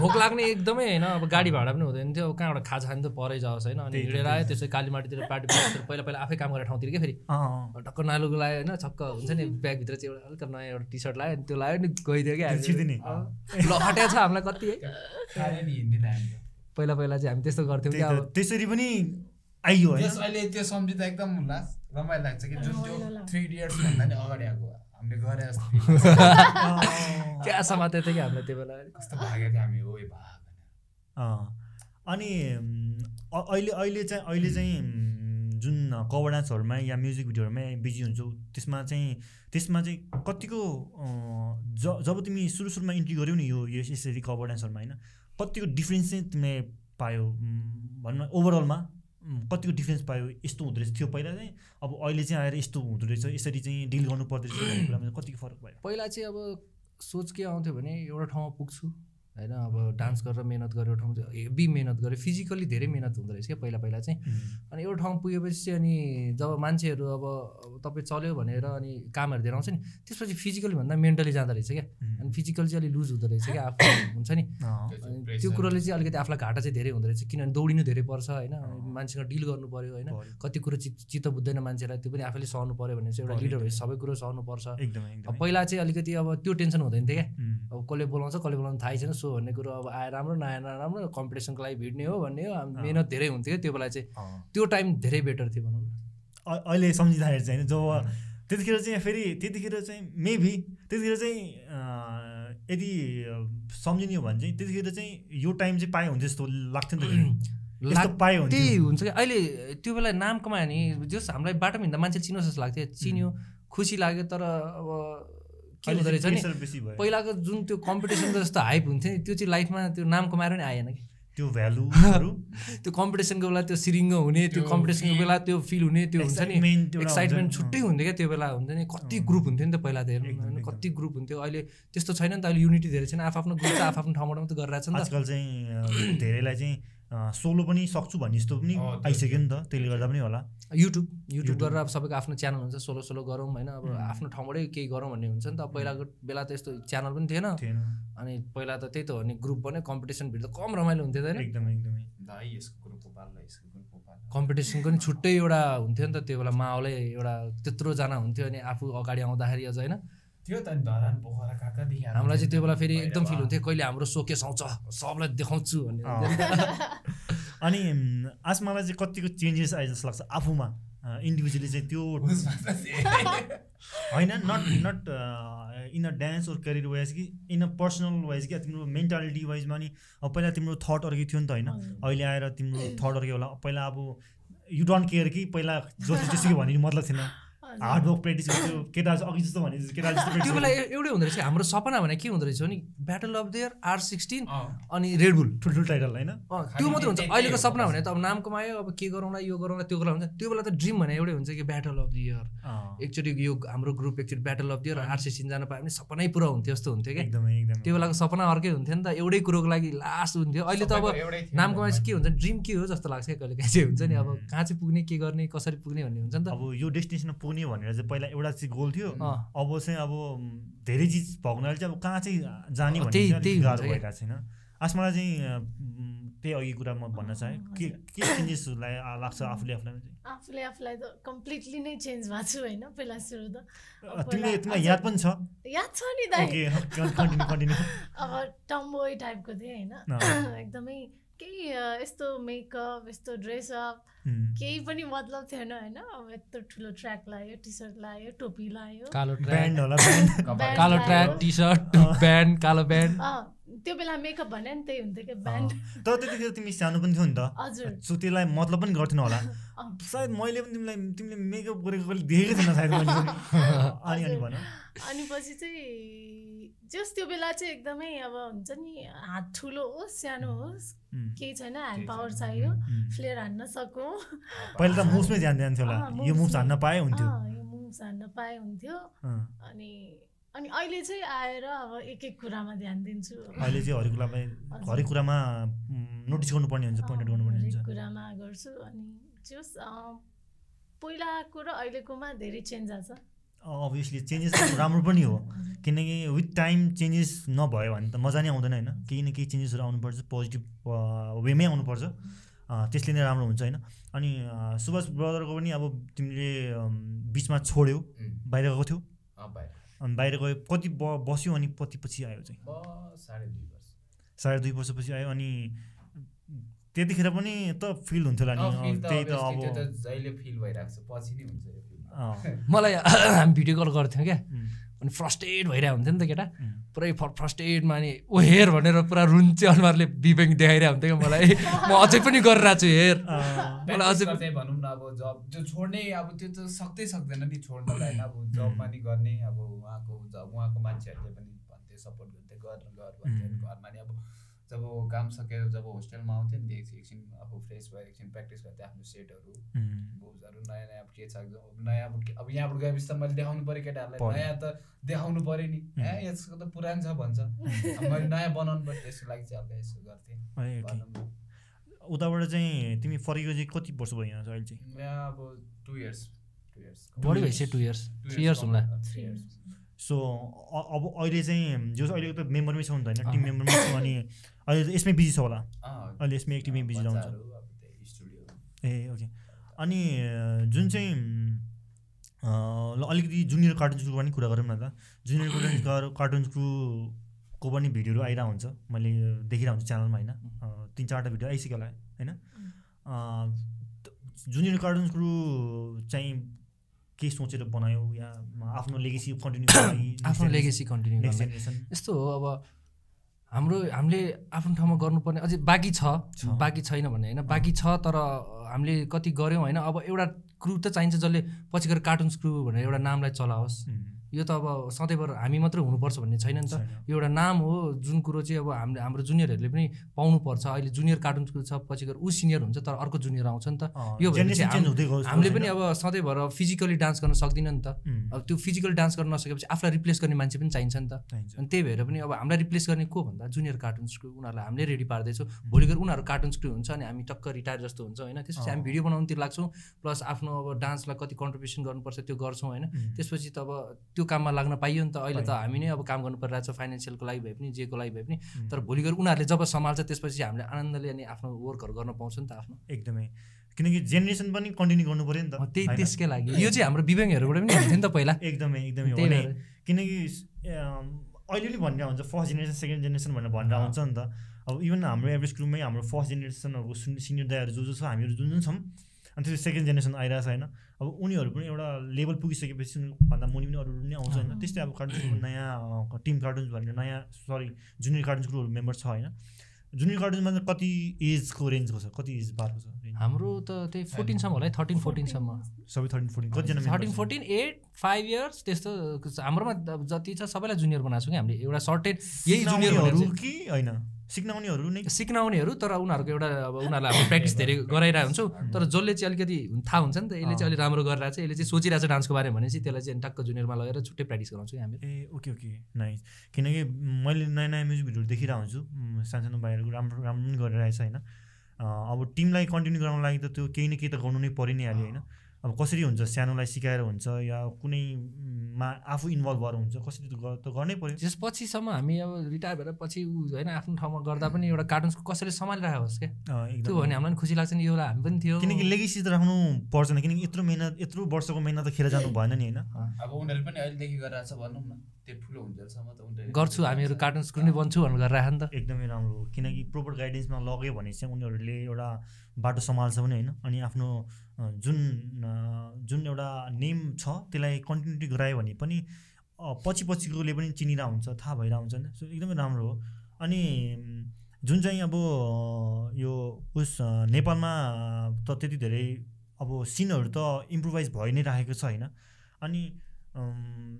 Speaker 1: भोक लाग्ने एकदमै होइन अब गाडी भाडा पनि हुँदैन थियो अब कहाँबाट खाजा खानु त परै जाओस् होइन अनि हिँडेर
Speaker 2: त्यही त, त्यही
Speaker 1: आयो
Speaker 2: त।
Speaker 1: त्यसै कालीमाटीतिर पार्टी पार्टीतिर पहिला पहिला आफै काम गरेर ठाउँतिर क्या फेरि
Speaker 2: अँ, अँ
Speaker 1: ढक्क नालुको लगायो होइन छक्क हुन्छ नि ब्यागभित्र चाहिँ एउटा अलिक नयाँ एउटा टी सर्ट लगायो अनि त्यो लगायो नि गइदियो क्या हामी।
Speaker 2: छिर्दिने।
Speaker 1: अँ। ल हट्या छ हामीलाई कति है
Speaker 4: खाएर नि हिँड्दैन हामी त।
Speaker 1: पहिला पहिला चाहिँ हामी त्यस्तो गर्थ्यौँ
Speaker 2: त्यही
Speaker 1: क्या
Speaker 2: त
Speaker 1: अब
Speaker 2: त्यसरी पनि आइयो
Speaker 4: त्यस
Speaker 2: होइन
Speaker 4: अहिले त्यो सम्झिँदा एकदम लास रमाइलो लाग्छ कि जुन त्यो
Speaker 3: रमाइलो लाग्छ।
Speaker 4: थ्री इयर्स भन्दा नि अगाडि आएको हामीले गरे जस्तो
Speaker 1: [laughs]
Speaker 4: feel लाग्छ।
Speaker 2: अँ।
Speaker 1: क्या समातेको थियो कि हामीलाई त्यो बेला
Speaker 4: कस्तो भागेको हामी हो ए भाग
Speaker 2: अँ। अनि उम्, अ- अहिले अहिले चाहिँ अहिले चाहिँ उम्, जुन कभर डान्सहरूमा या म्युजिक भिडियोहरूमा बिजी हुन्छौ त्यसमा चाहिँ त्यसमा चाहिँ कतिको अँ, ज जब तिमी सुरु सुरुमा इन्ट्री गऱ्यौ नि यो यो यसरी कभर डान्सहरूमा होइन कतिको डिफ्रेन्स चाहिँ तिमीले पायो उम्, भनौँ न ओभरअलमा उम्, कतिको डिफ्रेन्स पायो यस्तो हुँदो रहेछ थियो पहिला चाहिँ अब अहिले चाहिँ आएर यस्तो हुँदो रहेछ यसरी चाहिँ डिल गर्नु पर्दो रहेछ भन्ने कुरामा चाहिँ कतिको फरक भयो
Speaker 1: पहिला चाहिँ अब सोच के आउँथ्यो भने एउटा ठाउँमा पुग्छु होइन अब डान्स गरेर मिहिनेत गरेर ठाउँ हेभी मिहिनेत गरेँ फिजिकल्ली धेरै मिहिनेत हुँदो रहेछ क्या पहिला पहिला चाहिँ अनि एउटा ठाउँमा पुगेपछि चाहिँ अनि जब मान्छेहरू अब अब तपाईँ चल्यो भनेर अनि कामहरू दिएर आउँछ नि त्यसपछि फिजिकली भन्दा मेन्टली जाँदो रहेछ क्या
Speaker 2: उम्,
Speaker 1: अनि फिजिकल चाहिँ अलिक लुज हुँदो रहेछ क्या आफू हुन्छ नि
Speaker 2: अँ,
Speaker 1: अनि त्यो कुरोले चाहिँ अलिकति आफूलाई घाटा चाहिँ धेरै हुँदो रहेछ किनभने दौडिनु धेरै पर्छ होइन अनि मान्छेसँग डिल गर्नु पऱ्यो होइन
Speaker 2: भयो।
Speaker 1: कति कुरो चित चित्त बुझ्दैन मान्छेलाई त्यो पनि आफैले सहनु पऱ्यो भने चाहिँ एउटा
Speaker 2: पऱ्यो,
Speaker 1: लिडर भएपछि
Speaker 2: एकदमै।
Speaker 1: सबै कुरो सहनु पर्छ
Speaker 2: एकदमै
Speaker 1: अब
Speaker 2: एकदमै
Speaker 1: पहिला चाहिँ अलिकति अब त्यो टेन्सन हुँदैन थियो क्या
Speaker 2: उम्,
Speaker 1: अब कसले बोलाउँछ कसले बोलाउनु थाहै छैन सो भन्ने कुरो अब आएर राम्रो नआएर नराम्रो कम्पिटिसनको लागि भिड्ने हो भन्ने हो हामी
Speaker 2: अँ।
Speaker 1: मिहिनेत धेरै हुन्थ्यो क्या त्यो बेला चाहिँ
Speaker 2: अँ।
Speaker 1: त्यो टाइम धेरै बेटर थियो भनौँ न
Speaker 2: अ- अहिले सम्झिँदाखेरि चाहिँ होइन जब त्यतिखेर चाहिँ फेरि त्यतिखेर चाहिँ मेबी त्यतिखेर चाहिँ अँ, यदि अँ, सम्झिने हो भने चाहिँ त्यतिखेर चाहिँ यो टाइम चाहिँ पाए हुन्थ्यो जस्तो लाग्थ्यो
Speaker 1: [clears throat]
Speaker 2: नि त फेरि। यस्तो
Speaker 1: लाग-
Speaker 2: पाए
Speaker 1: त्यही
Speaker 2: हुन्थ्यो
Speaker 1: हुन्छ कि अहिले त्यो बेला नाम कमायो नि जस हामीलाई बाटोमा हिँड्दा मान्छे चिनो जस्तो लाग्थ्यो चिन्यो खुसी लाग्यो तर अब के
Speaker 2: अहिले
Speaker 1: हुँदो रहेछ
Speaker 2: चाहिँ
Speaker 1: नि
Speaker 2: pressure बेसी भयो
Speaker 1: पहिलाको जुन त्यो कम्पिटिसनको जस्तो हाइप हुन्थ्यो नि त्यो चाहिँ लाइफमा त्यो नाम कमाएर नि आएन कि
Speaker 2: त्यो भ्यालुहरू
Speaker 1: [laughs] त्यो कम्पिटिसनको बेला त्यो सिरिङ्गो हुने त्यो
Speaker 4: त्यो
Speaker 1: कम्पिटिसनको
Speaker 4: feel,
Speaker 1: बेला त्यो फिल हुने त्यो हुन्छ नि
Speaker 2: एक्साइटमेन्ट एउटा
Speaker 1: एक्साइटमेन्ट
Speaker 2: हुन्छ नि,
Speaker 1: छुट्टै हुन्थ्यो क्या त्यो बेला हुन्छ नि कति
Speaker 2: अँ।
Speaker 1: ग्रुप हुन्थ्यो नि त पहिला त हेर्नु
Speaker 2: एकदम,
Speaker 1: होइन
Speaker 2: एकदम।
Speaker 1: कति ग्रुप हुन्थ्यो अहिले त्यस्तो छैन नि त अहिले युनिटी धेरै छैन आफआफ्नो ग्रुप छ आफआफ्नो ठाउँबाट मात्रै गरिरहेछ नि त
Speaker 2: आजकल चाहिँ अँ, धेरैलाई चाहिँ सोलो पनि सक्छु भन्ने जस्तो पनि
Speaker 4: अँ, त्यो-
Speaker 2: आइसक्यो नि त त्यसले गर्दा पनि होला
Speaker 1: युट्युब युट्युब
Speaker 2: युट्युब।
Speaker 1: गरेर अब सबैको आफ्नो च्यानल हुन्छ सोलो सोलो गरौँ होइन अब
Speaker 2: उम्.
Speaker 1: आफ्नो ठाउँबाटै केही गरौँ भन्ने हुन्छ नि त पहिलाको बेला त यस्तो च्यानल पनि थिएन
Speaker 2: थिएन
Speaker 1: अनि पहिला त त्यही त हो नि ग्रुप बन्यो कम्पिटिसन भिड त कम रमाइलो हुन्थ्यो त होइन
Speaker 2: एकदमै एकदमै
Speaker 4: दाइ यसको ग्रुपको पाल्ला यसको ग्रुपको पाल्ला
Speaker 1: कम्पिटिसनको नि छुट्टै एउटा हुन्थ्यो नि त त्यो बेला माओले एउटा त्यत्रोजना हुन्थ्यो अनि आफू अगाडि आउँदाखेरि अझ होइन
Speaker 4: त्यो त नि धरान पोखरा कहाँदेखि आएको
Speaker 1: हामीलाई चाहिँ
Speaker 4: [laughs] थियो?
Speaker 1: त्यो बेला फेरि एकदम फिल
Speaker 4: भैरवा।
Speaker 1: हुन्थ्यो कहिले हाम्रो सोकेस आउँछ सबलाई देखाउँछु भन्ने
Speaker 2: अँ। अनि म, आज मलाई चाहिँ कतिको चेन्जेस आए जस्तो लाग्छ आफूमा इन्डिभिजुअली चाहिँ त्यो
Speaker 4: उसमा त
Speaker 1: [laughs]
Speaker 4: थिएँ।
Speaker 2: होइन uh, not not in a dance or career wise कि इन अ पर्सनल वाइज कि तिम्रो मेन्टालिटी वाइजमा नि अब पहिला तिम्रो थट अर्कै थियो नि त होइन
Speaker 3: हजुर।
Speaker 2: अहिले आएर तिम्रो थट अर्कै होला पहिला अब यु डोन्ट केयर कि पहिला जति जसुकै भन्ने नि मतलब थिएन हार्डवर्क प्र्याक्टिस गर्थ्यो केटा जस्तो- अघि जस्तो भने जस्तो- केटा जस्तो
Speaker 1: त्यो
Speaker 2: practice
Speaker 1: बेला
Speaker 2: गर्थ्यो।
Speaker 1: ए- एउटै हुँदो रहेछ हाम्रो सपना भने के हुँदो रहेछ भने battle of there R sixteen
Speaker 4: अँ,
Speaker 1: अनि रेडबुल
Speaker 2: ठुल्ठुलो टाइटल होइन
Speaker 1: त्यो मात्र हुन्छ अहिलेको सपना भने त अब नाम कमायो अब के गरौँला यो गरौँला त्यो गरौँला हुन्छ त्यो बेला त ड्रिम भने एउटै हुन्छ कि ब्याटल अफ द इयर
Speaker 2: अँ,
Speaker 1: एकचोटि यो हाम्रो ग्रुप एकचोटि battle of the year R sixteen जान पायो भने सपनै पुरा हुन्थ्यो जस्तो हुन्थ्यो क्या
Speaker 2: एकदमै एकदमै
Speaker 1: त्यो बेलाको सपना अर्कै हुन्थ्यो नि त एउटै कुरोको लागि लास्ट हुन्थ्यो अहिले त अब
Speaker 4: सबैको एउटै थियो
Speaker 1: नाम
Speaker 4: नि
Speaker 1: कमाएपछि
Speaker 4: त।
Speaker 1: के हुन्छ ड्रिम के हो जस्तो लाग्छ क्या कहिले काहीँ चाहिँ हुन्छ नि अब कहाँ चाहिँ पुग्ने के गर्ने कसरी पुग्ने भन्ने हुन्छ नि त
Speaker 2: अब यो डेस्टिनेसनमा पुग्ने भनेर चाहिँ पहिला एउटा चाहिँ गोल थियो
Speaker 1: अँ।
Speaker 2: अब चाहिँ अब म, धेरै चिज भएको हुनाले चाहिँ अब कहाँ चाहिँ जाने
Speaker 1: अँ,
Speaker 2: भन्ने
Speaker 1: त्यही-
Speaker 2: चाहिँ अलिक
Speaker 1: त्यही हुन्छ
Speaker 2: गाह्रो
Speaker 1: क्या।
Speaker 2: भइरहेको छैन आज मलाई चाहिँ अँ, म, त्यही अघि कुरा म भन्न चाहेँ के के चेन्जेसहरूलाई लाग्छ आफूले आफूलाई चाहिँ?
Speaker 3: आफूले आफूलाई त कम्प्लिटली नै चेन्ज भएको छु होइन पहिला सुरु त
Speaker 2: अँ, तिमीले
Speaker 3: पहिला-
Speaker 2: तिमीलाई याद पनि छ
Speaker 3: याद छ नि दाइ
Speaker 2: ओके कन्टिन्यू कन्टिन्यू
Speaker 3: अब टम्बोय टाइपको थिएँ होइन [clears throat]
Speaker 2: अँ।
Speaker 3: एकदमै केही अ, यस्तो मेकअप यस्तो ड्रेसअप
Speaker 2: हुँ,
Speaker 3: केही पनि मतलब थिएन होइन अब यत्रो ठुलो ट्र्याक लायो टी सर्ट लायो टोपी
Speaker 2: [laughs]
Speaker 3: लायो
Speaker 1: कालो
Speaker 2: ब्यान्ड होला ब्यान्ड
Speaker 4: कपाल-
Speaker 1: कालो
Speaker 3: लायो।
Speaker 1: ट्र्याक टी सर्ट ब्यान्ड कालो ब्यान्ड
Speaker 3: अँ, त्यो बेला मेकअप भने नि त्यही हुन्थ्यो कि
Speaker 2: अँ,
Speaker 3: ब्यान्ड
Speaker 2: तर त्यतिखेर तिमी सानो पनि थियौ नि त
Speaker 3: हजुर
Speaker 2: सो त्यसलाई मतलब पनि गर्थेन होला
Speaker 3: अँ,
Speaker 2: सायद मैले पनि तिमीलाई तिमीले मेकअप गरेको कहिले देखेको थिएन सायद मैले
Speaker 3: [laughs]
Speaker 2: पनि। अनि अनि भन
Speaker 3: अनि पछि चाहिँ जस त्यो बेला चाहिँ एकदमै अब हुन्छ नि हात ठुलो होस् सानो होस्
Speaker 2: उम्,
Speaker 3: केही छैन ह्यान्ड
Speaker 4: केही
Speaker 3: पावर
Speaker 4: छैन।
Speaker 3: चाहियो
Speaker 2: उम्।
Speaker 3: फ्लेयर हान्न
Speaker 2: [laughs]
Speaker 3: सकौँ
Speaker 2: पहिला त
Speaker 3: [laughs]
Speaker 2: मुभ्समै ध्यान दिन्थ्यो होला
Speaker 3: अँ,
Speaker 2: यो मुभ्स
Speaker 3: moves
Speaker 2: हान्न पाए हुन्थ्यो
Speaker 3: अँ, यो मुभ्स हान्न पाए हुन्थ्यो
Speaker 2: अँ,
Speaker 3: अनि अनि अहिले चाहिँ आएर अब एक एक कुरामा ध्यान दिन्छु
Speaker 2: अहिले चाहिँ हरेक कुरामा हरेक कुरामा उम्, नोटिस गर्नुपर्ने हुन्छ पोइन्ट आउट गर्नुपर्ने हुन्छ
Speaker 3: हरेक कुरामा गर्छु अनि जस अँ, पहिलाको र अहिलेकोमा धेरै चेन्ज आएको छ
Speaker 2: अभियसली चेन्जेस राम्रो पनि हो किनकि विथ टाइम चेन्जेस नभयो भने त मजा नै आउँदैन होइन केही न केही चेन्जेसहरू आउनुपर्छ पोजिटिभ वेमै आउनुपर्छ अँ, त्यसले नै राम्रो हुन्छ होइन अनि अँ, सुभाष ब्रदरको पनि अब तिमीले अम्, बिचमा छोड्यौ
Speaker 4: उम्,
Speaker 2: बाहिर गएको थियौ
Speaker 4: अँ, बाहिर।
Speaker 2: अनि बाहिर गयो कति ब बस्यो अनि कति पछि आयो चाहिँ
Speaker 4: ब- साढे दुई वर्ष।
Speaker 2: साढे दुई वर्षपछि आयो अनि त्यतिखेर पनि त फिल हुन्थ्यो होला नि
Speaker 4: अँ, feel
Speaker 2: अँ,
Speaker 4: त
Speaker 2: त्यही त अब
Speaker 4: obviously त्यो त जहिले feel भइरहेको छ, पछि नै हुन्छ यो feel।
Speaker 2: अँ,
Speaker 4: [laughs]
Speaker 1: मलाई [clears throat] हामी भिडियो कल गर्थ्यौँ क्या
Speaker 2: उम्,
Speaker 1: अनि फ्रस्टेड भइरहेको हुन्थ्यो नि त केटा
Speaker 2: उम्,
Speaker 1: पुरै फर्स्टेडमा नि ओ हेर भनेर पुरा रुन्चे अनुहारले बिबेङ देखाइरहेको हुन्थ्यो क्या मलाई [laughs] म अझै पनि गरिरहेको छु हेर
Speaker 2: अँ,
Speaker 1: मलाई अझै पनि-
Speaker 4: Practice गर्दै भनौँ न अब जब त्यो छोड्ने अब त्यो त सक्दै सक्दैन नि छोड्नलाई अब
Speaker 2: [clears throat]
Speaker 4: जबमा नि गर्ने अब उहाँको जब उहाँको मान्छेहरूले पनि भन्थे सपोर्ट गर्दै गर गर भन्थे
Speaker 2: उम्.
Speaker 4: घरमा नि अब जब काम सकेर जब होस्टेलमा आउँथ्यो नि त्यहाँ एकछिन अब फ्रेस भएर एकछिन प्र्याक्टिस गर्दै आफ्नो सेटहरू
Speaker 2: उम्,
Speaker 4: बुक्सहरू नयाँ नयाँ अब के छ अब नयाँ अब के- अब यहाँबाट गएपछि त मैले देखाउनु पऱ्यो
Speaker 2: पर्यो।
Speaker 4: केटाहरूलाई नयाँ त देखाउनु पऱ्यो नि
Speaker 2: उम्.
Speaker 4: ए यसको त पुरानो छ भन्छ अब मैले नयाँ बनाउनु पऱ्यो त्यसको लागि चाहिँ अब यसो गर्थेँ
Speaker 2: ए, ओके।
Speaker 4: भनौँ न।
Speaker 2: उताबाट चाहिँ तिमी फर्केको चाहिँ कति वर्ष भयो यहाँ अहिले चाहिँ
Speaker 4: यहाँ अब टु इयर्स टु इयर्स
Speaker 1: बढी भइसक्यो टु इयर्स थ्री इयर्स होला
Speaker 4: थ्री इयर्स
Speaker 2: सो अ- अब अहिले चाहिँ जो अहिलेको त मेम्बरमै छ नि त होइन
Speaker 1: अँ।
Speaker 2: टिम मेम्बरमै छ अनि अहिले त यसमै बिजी छ होला
Speaker 4: अँ,
Speaker 2: अहिले यसमै एक्टिभमै बिजी रहन्छ
Speaker 4: बच्चाहरू, अब त्यही स्टुडियो
Speaker 2: ए ओके अनि अ, जुन चाहिँ अ, ल अलिकति जुनियर कार्टुन्स क्रू पनि कुरा गरौँ न त जुनियर कार्टुन्स कार्टुन्स क्रूको पनि भिडियोहरू आइरहेको हुन्छ मैले देखिरहेको हुन्छु च्यानलमा होइन अ, तिन चारवटा भिडियो आइसक्यो होला होइन अ, त- जुनियर कार्टुन्स क्रू चाहिँ के सोचेर बनायो या आफ्नो लेगेसी कन्टिन्यू
Speaker 1: [coughs] आफ्नो लेगेसी कन्टिन्यू
Speaker 2: नेक्स्ट
Speaker 1: गर्ने
Speaker 2: जेनेरेसन
Speaker 1: यस्तो हो अब हाम्रो हामीले आफ्नो ठाउँमा गर्नुपर्ने अझै बाँकी छ
Speaker 2: छ।
Speaker 1: बाँकी छैन भने होइन बाँकी छ तर अ, हामीले कति गऱ्यौँ होइन अब एउटा क्रु त चाहिन्छ जसले पछि गएर कार्टुन्स क्रु भनेर एउटा नामलाई चलाओस् यो त अब सधैँभर हामी मात्रै हुनुपर्छ भन्ने छैन नि त
Speaker 2: छैन।
Speaker 1: यो एउटा नाम हो जुन कुरो चाहिँ अब हामीले हाम्रो जुनियरहरूले पनि पाउनुपर्छ अहिले जुनियर कार्टुन छ पछि गएर ऊ सिनियर हुन्छ तर अर्को जुनियर आउँछ नि त
Speaker 2: अँ,
Speaker 1: यो भनेपछि
Speaker 2: generation
Speaker 1: हाम-
Speaker 2: change हुँदै गयो जस्तो
Speaker 1: हामीले
Speaker 2: छैन।
Speaker 1: पनि अब सधैँभर फिजिकली डान्स गर्न सक्दिन नि त
Speaker 2: उम्,
Speaker 1: अब त्यो फिजिकल डान्स गर्न नसकेपछि आफूलाई रिप्लेस गर्ने मान्छे पनि चाहिन्छ नि त
Speaker 2: चाहिन्छ।
Speaker 1: अनि त्यही भएर पनि अब हामीलाई रिप्लेस गर्ने को भन्दा जुनियर कार्टुन क्रू उनीहरूलाई हामीले रेडी पार्दैछौँ भोलि गएर उनीहरू कार्टुन क्रू हुन्छ अनि हामी टक्क रिटायर जस्तो हुन्छ होइन त्यसपछि हामी
Speaker 2: अँ।
Speaker 1: भिडियो बनाउनुतिर लाग्छौँ प्लस आफ्नो अब डान्सलाई कति कन्ट्रिब्युसन गर्नुपर्छ त्यो गर्छौँ होइन
Speaker 2: उम्,
Speaker 1: त्यसपछि त अब त्यो काममा लाग्न पाइयो नि त अहिले त
Speaker 2: पाइयो।
Speaker 1: हामी नै अब काम गर्नु परिरहेको छ फाइनेन्सियलको लागि भए पनि जेको लागि भए पनि
Speaker 2: उम्,
Speaker 1: तर भोलि गएर उनीहरूले जब सम्हाल्छ त्यसपछि हामीले आनन्दले अनि आफ्नो वर्कहरू गर्न पाउँछ नि त आफ्नो
Speaker 2: एकदमै किनकि जेनेरेसन पनि कन्टिन्यू गर्नु पऱ्यो नि त
Speaker 1: अँ, त्यही
Speaker 2: होइन?
Speaker 1: त्यसकै लागि यो चाहिँ हाम्रो विवेङहरूबाट पनि हुन्थ्यो नि त
Speaker 2: [laughs]
Speaker 1: पहिला
Speaker 2: एकदमै एकदमै हो
Speaker 1: त्यही
Speaker 2: नै
Speaker 1: भएर
Speaker 2: किनकि स- अम, अहिले पनि भन्ने हुन्छ फर्स्ट जेनेरेसन सेकेन्ड जेनेरेसन भनेर भनेर
Speaker 1: अँ।
Speaker 2: आउँछ नि त अब इभन हाम्रो एभरेज ग्रुपमै हाम्रो फर्स्ट जेनेरेसनहरूको सिनियर दाईहरू जो जो छ हामीहरू जुन जुन छौँ अनि त्यसपछि सेकेन्ड जेनेरेसन आइरहेको छ होइन अब उनीहरू पनि एउटा लेभल पुगिसकेपछि उनीहरूभन्दा मुनि पनि अरू अरू पनि आउँछ होइन त्यस्तै अब कार्टुन्सको नयाँ टिम कार्टुन्स भनेर नयाँ सरी जुनियर कार्टुन्स ग्रुपहरू मेम्बर छ होइन जुनियर कार्टुन्समा चाहिँ कति एजको रेन्जको छ कति एज बारको छ range?
Speaker 1: हाम्रो त त्यही फोर्टिनसम्म होला है थर्टिन फोर्टिनसम्म
Speaker 2: सबै थर्टिन फोर्टिन कतिजना member
Speaker 1: थर्टिन
Speaker 2: छ?
Speaker 1: फोर्टिन एट फाइभ इयर्स त्यस्तो हाम्रोमा अब जति छ सबैलाई जुनियर बनाएको छौँ कि हामीले एउटा सर्टेड यही जुनियर भनेर
Speaker 2: सिक्नाउनेहरू
Speaker 1: चाहिँ
Speaker 2: कि होइन सिक्नाउनेहरू नै
Speaker 1: सिक्न आउनेहरू तर उनीहरूको एउटा अब उनीहरूलाई हामी प्र्याक्टिस धेरै गराइरहेको हुन्छौँ तर जसले चाहिँ अलिकति थाहा हुन्छ नि त यसले चाहिँ अलिक राम्रो गरिरहेको छ यसले चाहिँ सोचिरहेको छ डान्सको बारेमा भनेपछि त्यसलाई चाहिँ अनि टक्क जुनियरमा लगेर छुट्टै प्र्याक्टिस गराउँछौँ कि हामीले
Speaker 2: ए ओके ओके नाइस किनकि मैले नयाँ नयाँ म्युजिक भिडियोहरू देखिरहेको हुन्छु म सानसानो भाइहरूको राम्रो राम्रो पनि गरिरहेछ होइन अ, अब टिमलाई कन्टिन्यू गराउनको लागि त त्यो केही न केही त गर्नु नै परि नै हाल्यो होइन अब कसरी हुन्छ सानोलाई सिकाएर हुन्छ या कुनैमा आफू इन्भल्भ भएर हुन्छ कसरी त गर- त गर्नै पऱ्यो
Speaker 1: त्यसपछिसम्म हामी अब रिटायर भएर पछि ऊ होइन आफ्नो ठाउँमा गर्दा पनि एउटा कार्टुन्सको कसैले सम्हालिरहेको होस् क्या त्यो भने
Speaker 2: अ, एकदम
Speaker 1: हामीलाई पनि खुसी लाग्छ नि यो बेला हामी पनि थियो
Speaker 2: किनकि लेगेसी त राख्नु पर्छ नि किनकि यत्रो मेहनत यत्रो वर्षको मेहनत त खेर जानु भएन नि होइन
Speaker 4: अब उनीहरू पनि अहिलेदेखि गरिरहेको छ भनौँ न त्यो ठुलो हुन्जेलसम्म त उनीहरू
Speaker 1: गर्छु हामीहरू कार्टुन्स कुनै बन्छु भनेर गरिरहेको नि त
Speaker 2: एकदमै राम्रो हो किनकि प्रोपर गाइडेन्समा लग्यो भने चाहिँ उनीहरूले एउटा बाटो सम्हाल्छ पनि होइन अनि आफ्नो अ, जुन अ, जुन एउटा नेम छ त्यसलाई कन्टिन्युटी गरायो भने पनि अ, पछि पछिकोले पनि चिनिरह हुन्छ थाहा भइरहेको हुन्छ होइन सो एकदमै राम्रो हो अनि म, जुन चाहिँ अब अ, यो उस अ, नेपालमा त त्यति धेरै अब सिनहरू त इम्प्रोभाइज भइ नै राखेको छ होइन अनि अम्,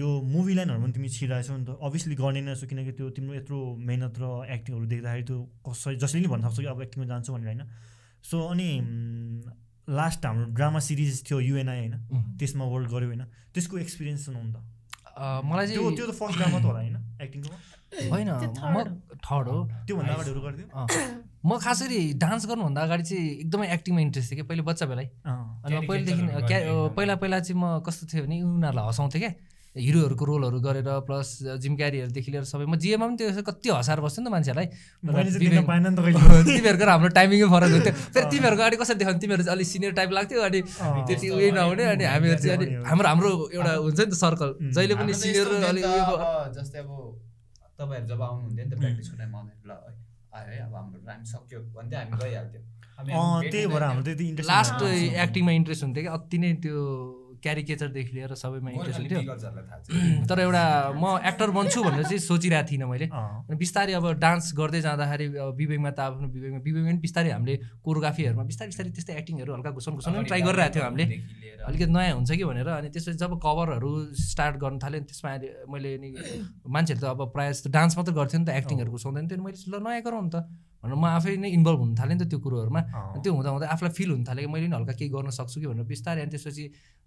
Speaker 2: यो मुभी लाइनहरू पनि तिमी छिराएछौ नि त अभियसली गर्ने नै छौ किनकि त्यो तिम्रो यत्रो मेहनत र एक्टिङहरू देख्दाखेरि त्यो कसै जसले नि भन्न सक्छ कि अब एक्टिङमा जान्छु भनेर होइन सो अनि लास्ट हाम्रो ड्रामा सिरिज थियो युएनआई होइन
Speaker 1: उम्.
Speaker 2: त्यसमा वर्क गऱ्यो होइन त्यसको एक्सपिरियन्स सुनाउनु त
Speaker 1: अ, मलाई
Speaker 2: त्यो त्यो
Speaker 1: चाहिँ
Speaker 2: त फर्स्ट ड्रामा त होला होइन एक्टिङको
Speaker 1: [laughs] होइन
Speaker 3: त्यो
Speaker 1: म
Speaker 3: third
Speaker 1: थर्ड हो
Speaker 2: त्योभन्दा अगाडिहरू गर्थ्यो
Speaker 1: अँ। म खास गरी डान्स गर्नुभन्दा अगाडि चाहिँ एकदमै एक्टिङमा इन्ट्रेस्ट थियो कि पहिले बच्चा बेलै
Speaker 2: अँ,
Speaker 1: अनि म
Speaker 4: Caricature
Speaker 1: पहिलेदेखि
Speaker 4: गर्ने
Speaker 1: क्या
Speaker 4: एकदम।
Speaker 1: पहिला पहिला चाहिँ म कस्तो थियो भने उनीहरूलाई हँसाउँथेँ क्या हिरोहरूको रोलहरू गरेर प्लस जिमक्यारीहरूदेखि लिएर सबै म जिएमा पनि त्यो कति हँसाएर बस्थ्यो नि त मान्छेहरूलाई [laughs]
Speaker 2: मैले चाहिँ देख्न
Speaker 1: विवेक-
Speaker 2: पाएन नि त कहिले
Speaker 1: [laughs] तिमीहरूको र हाम्रो टाइमिङै फरक हुन्थ्यो फेरि
Speaker 2: अँ।
Speaker 1: तिमीहरूको अगाडि कसरी देखाउने तिमीहरू चाहिँ अलिक सिनियर टाइप लाग्थ्यो अनि
Speaker 2: अँ,
Speaker 1: त्यति उयो नहुने अनि हामीहरू चाहिँ अनि हाम्रो हाम्रो एउटा हुन्छ नि त सर्कल
Speaker 2: उम्,
Speaker 1: जहिले पनि
Speaker 4: हाम्रो त
Speaker 1: सिनियर
Speaker 4: यस्तो हुन्थ्यो नि
Speaker 1: अलिक
Speaker 4: त,
Speaker 1: उयो
Speaker 4: अब जस्तै अब तपाईँहरू जब आउनुहुन्थ्यो नि त प्र्याक्टिसको टाइम आउँदाखेरि ल है आयो है अब हाम्रो टाइम सक्यो भन्दै हामी गइहाल्थ्यौँ हामी-
Speaker 2: अँ,
Speaker 4: हामी
Speaker 2: त्यही
Speaker 4: भेट्नु
Speaker 2: भएर
Speaker 4: नै
Speaker 2: हाम्रो त्यति इन्ट्रेस्ट
Speaker 1: लास्ट
Speaker 2: हुँदैन।
Speaker 1: एक्टिङमा इन्ट्रेस्ट हुन्थ्यो कि अति नै त्यो क्यारिकेचरदेखि लिएर सबैमा
Speaker 4: थियौँ।
Speaker 1: इन्ट्रेस्ट
Speaker 4: गोर्खाली
Speaker 1: हुन्थ्यो
Speaker 4: बिगर्सहरूलाई थाहा छ।
Speaker 1: तर एउटा म एक्टर बन्छु भनेर चाहिँ सोचिरहेको थिइनँ मैले
Speaker 2: अँ,
Speaker 1: अनि बिस्तारै अब डान्स गर्दै जाँदाखेरि अब विवेकमा त आफ्नो विवेकमा विवेकमा पनि बिस्तारै हामीले कोरियोग्राफीहरूमा बिस्तारै बिस्तारै त्यस्तै एक्टिङहरू हल्का घुसन घुसन पनि
Speaker 4: अगाडि
Speaker 1: ट्राई गरिरहेको थियौँ हामीले
Speaker 4: देखि लिएर
Speaker 1: अलिकति नयाँ हुन्छ कि भनेर अनि त्यसपछि जब कभरहरू स्टार्ट गर्नु थाल्यो नि त्यसमा अहिले मैले नि मान्छेहरू त अब प्रायः जस्तो डान्स मात्र गर्थ्यो नि त एक्टिङहरूको सोध्दैन थियो नि मैले ल नयाँ गरौँ नि त भनेर म आफै नै इन्भल्भ हुन थालेँ नि त त्यो कुरोहरूमा
Speaker 2: अँ,
Speaker 1: अनि त्यो हुँदा हुँदा आफूलाई फिल हुन थाल्यो कि मैले नि हल्का केही गर्न सक्छु कि भनेर बिस्तारै अनि त्यसपछि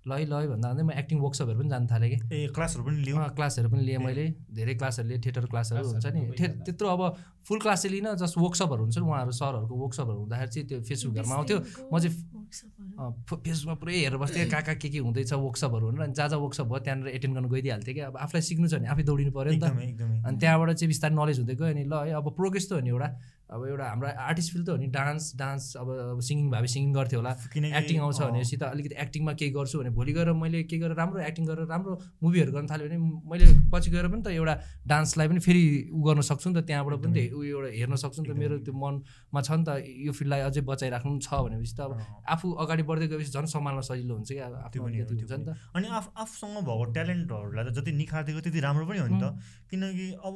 Speaker 1: लै लै भन्दा भन्दै म एक्टिङ वर्कसपहरू पनि जानु थालेँ कि
Speaker 2: ए क्लासहरू पनि लियो
Speaker 1: अँ, क्लासहरू पनि लिएँ
Speaker 2: ए।
Speaker 1: मैले धेरै क्लासहरू लिएँ थिएटर क्लासहरू हुन्छ नि
Speaker 4: क्लासहरू
Speaker 1: ठे-
Speaker 4: दुवैजना।
Speaker 1: त्यत्रो अब फुल क्लास चाहिँ लिन जस्ट वर्कसपहरू हुन्छ नि उहाँहरू सरहरूको वर्कसपहरू हुँदाखेरि चाहिँ त्यो फेसबुक घरमा आउँथ्यो म चाहिँ
Speaker 3: चाहिँ
Speaker 1: अँ, फ- फेसमा पुरै हेरेर बस्थेँ कहाँ कहाँ के के हुँदैछ वर्कसपहरू भनेर अनि जहाँ जहाँ वर्कसप भयो त्यहाँनिर एटेन्ड गर्न गइदिइहाल्थेँ कि अब आफूलाई सिक्नु छ भने आफै दौडिनु पऱ्यो नि त
Speaker 2: एकदमै एकदमै
Speaker 1: अनि त्यहाँबाट चाहिँ बिस्तारै नलेज हुँदै गयो अनि ल है अब प्रोग्रेस त हो नि एउटा अब एउटा हाम्रो आर्टिस्ट फिल्ड त हो नि डान्स डान्स अब अब सिङ्गिङ भए सिङ्गिङ गर्थ्यो होला
Speaker 2: किनकि
Speaker 1: एक्टिङ आउँछ
Speaker 2: अँ,
Speaker 1: भनेपछि त अलिकति एक्टिङमा केही गर्छु भने भोलि गएर मैले के गरेर राम्रो एक्टिङ गरेर राम्रो मुभीहरू गर्न थाल्यो भने मैले पछि गएर पनि त एउटा डान्सलाई पनि फेरि उ गर्न सक्छु नि त त्यहाँबाट पनि त उयो एउटा हेर्न सक्छु नि त
Speaker 2: एकदमै।
Speaker 1: मेरो त्यो मनमा छ नि त यो फिल्डलाई अझै बचाइराख्नु पनि छ भनेपछि त अब
Speaker 2: अँ।
Speaker 1: आफू अगाडि बढ्दै गएपछि झन् सम्हाल्न सजिलो हुन्छ क्या अब आफ्नो
Speaker 2: त्यो पनि हो,
Speaker 1: अलिकति हुन्छ
Speaker 2: त्यो
Speaker 1: नि त
Speaker 2: अनि आफ आफूसँग भएको ट्यालेन्टहरूलाई त जति निखारिदिएको त्यति राम्रो पनि हो नि त किनकि अब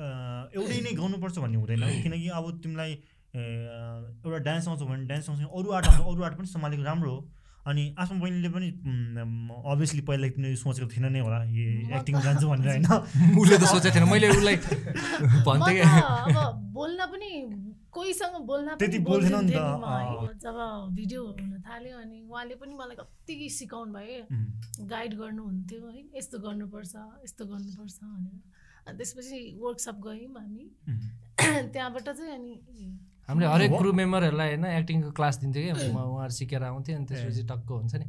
Speaker 2: अ, एउटै नै गाउनुपर्छ भन्ने हुँदैन किनकि अब तिमीलाई ए, एउटा डान्स आउँछ भने डान्स आउँछ भने अरू आर्ट आउँछ अरू आर्ट पनि सम्हालेको राम्रो हो अनि आफ्नो बहिनीले पनि अभियसली पहिला तिमीले सोचेको थिएन नै होला ए एक्टिङ जान्छु भनेर
Speaker 1: [laughs]
Speaker 2: होइन
Speaker 1: उसले त सोचेको थिएन मैले
Speaker 2: [laughs]
Speaker 1: उसलाई
Speaker 3: म
Speaker 1: भन्थेँ
Speaker 3: त
Speaker 1: क्या
Speaker 3: अब बोल्न पनि कोहीसँग बोल्न
Speaker 2: त्यति
Speaker 3: पनि
Speaker 2: बोल्थेन नि त,
Speaker 3: बोल्दिनँ म, है।
Speaker 2: अँ।
Speaker 3: जब भिडियो हुन थाल्यो अनि उहाँले पनि मलाई कति सिकाउनु भयो
Speaker 2: उम्,
Speaker 3: गाइड गर्नुहुन्थ्यो है यस्तो गर्नुपर्छ यस्तो गर्नुपर्छ भनेर अनि त्यसपछि वर्कसप गयौँ हामी [clears throat]
Speaker 2: उम्,
Speaker 3: त्यहाँबाट चाहिँ अनि
Speaker 1: हामीले हरेक
Speaker 2: हो।
Speaker 1: क्रु मेम्बरहरूलाई होइन एक्टिङको क्लास दिन्थ्यो कि म उहाँहरू सिकेर आउँथेँ अनि त्यसपछि टक्क हुन्छ नि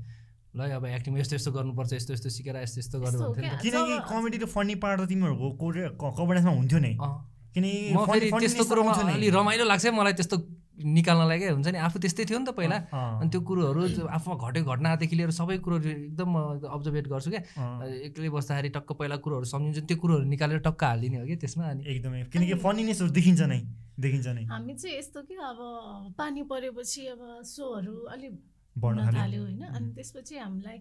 Speaker 1: ल अब एक्टिङ यस्तो यस्तो गर्नुपर्छ यस्तो यस्तो सिकेर यस्तो यस्तो गर्नु
Speaker 3: यस्तो हो
Speaker 1: भन्थ्यो नि त।
Speaker 3: क्या।
Speaker 2: किनकि
Speaker 3: जब-
Speaker 2: कमेडी र फनी पार्ट त तिमीहरूको कोरे कभरेजमा हुन्थ्यो नै
Speaker 1: अँ।
Speaker 2: किनकि
Speaker 1: म
Speaker 2: funny-
Speaker 1: फेरि
Speaker 2: funniness
Speaker 1: त्यस्तो
Speaker 2: त
Speaker 1: कुरोमा
Speaker 2: आउँथ्यो नै।
Speaker 1: अलि रमाइलो लाग्छ है मलाई त्यस्तो निकाल्नलाई क्या हुन्छ नि आफू त्यस्तै थियो नि त पहिला
Speaker 2: अँ,
Speaker 1: अनि त्यो कुरोहरू जो आफूमा घटेको घटनादेखि लिएर सबै कुरोहरू एकदम म अब्जर्भेट गर्छु क्या
Speaker 2: अँ,
Speaker 1: एक्लै बस्दाखेरि टक्क पहिला कुरोहरू सम्झिन्छु त्यो कुरोहरू निकालेर टक्क हालिदिने हो कि त्यसमा अनि
Speaker 2: एकदमै किनकि फनिनेसहरू देखिन्छ नै देखिन्छ नै
Speaker 3: हामी चाहिँ यस्तो कि अब पानी परेपछि अब सोहरू अलिक
Speaker 2: बढ्न
Speaker 3: हुन
Speaker 2: थाल्यो
Speaker 3: थाल्यो होइन अनि त्यसपछि हामीलाई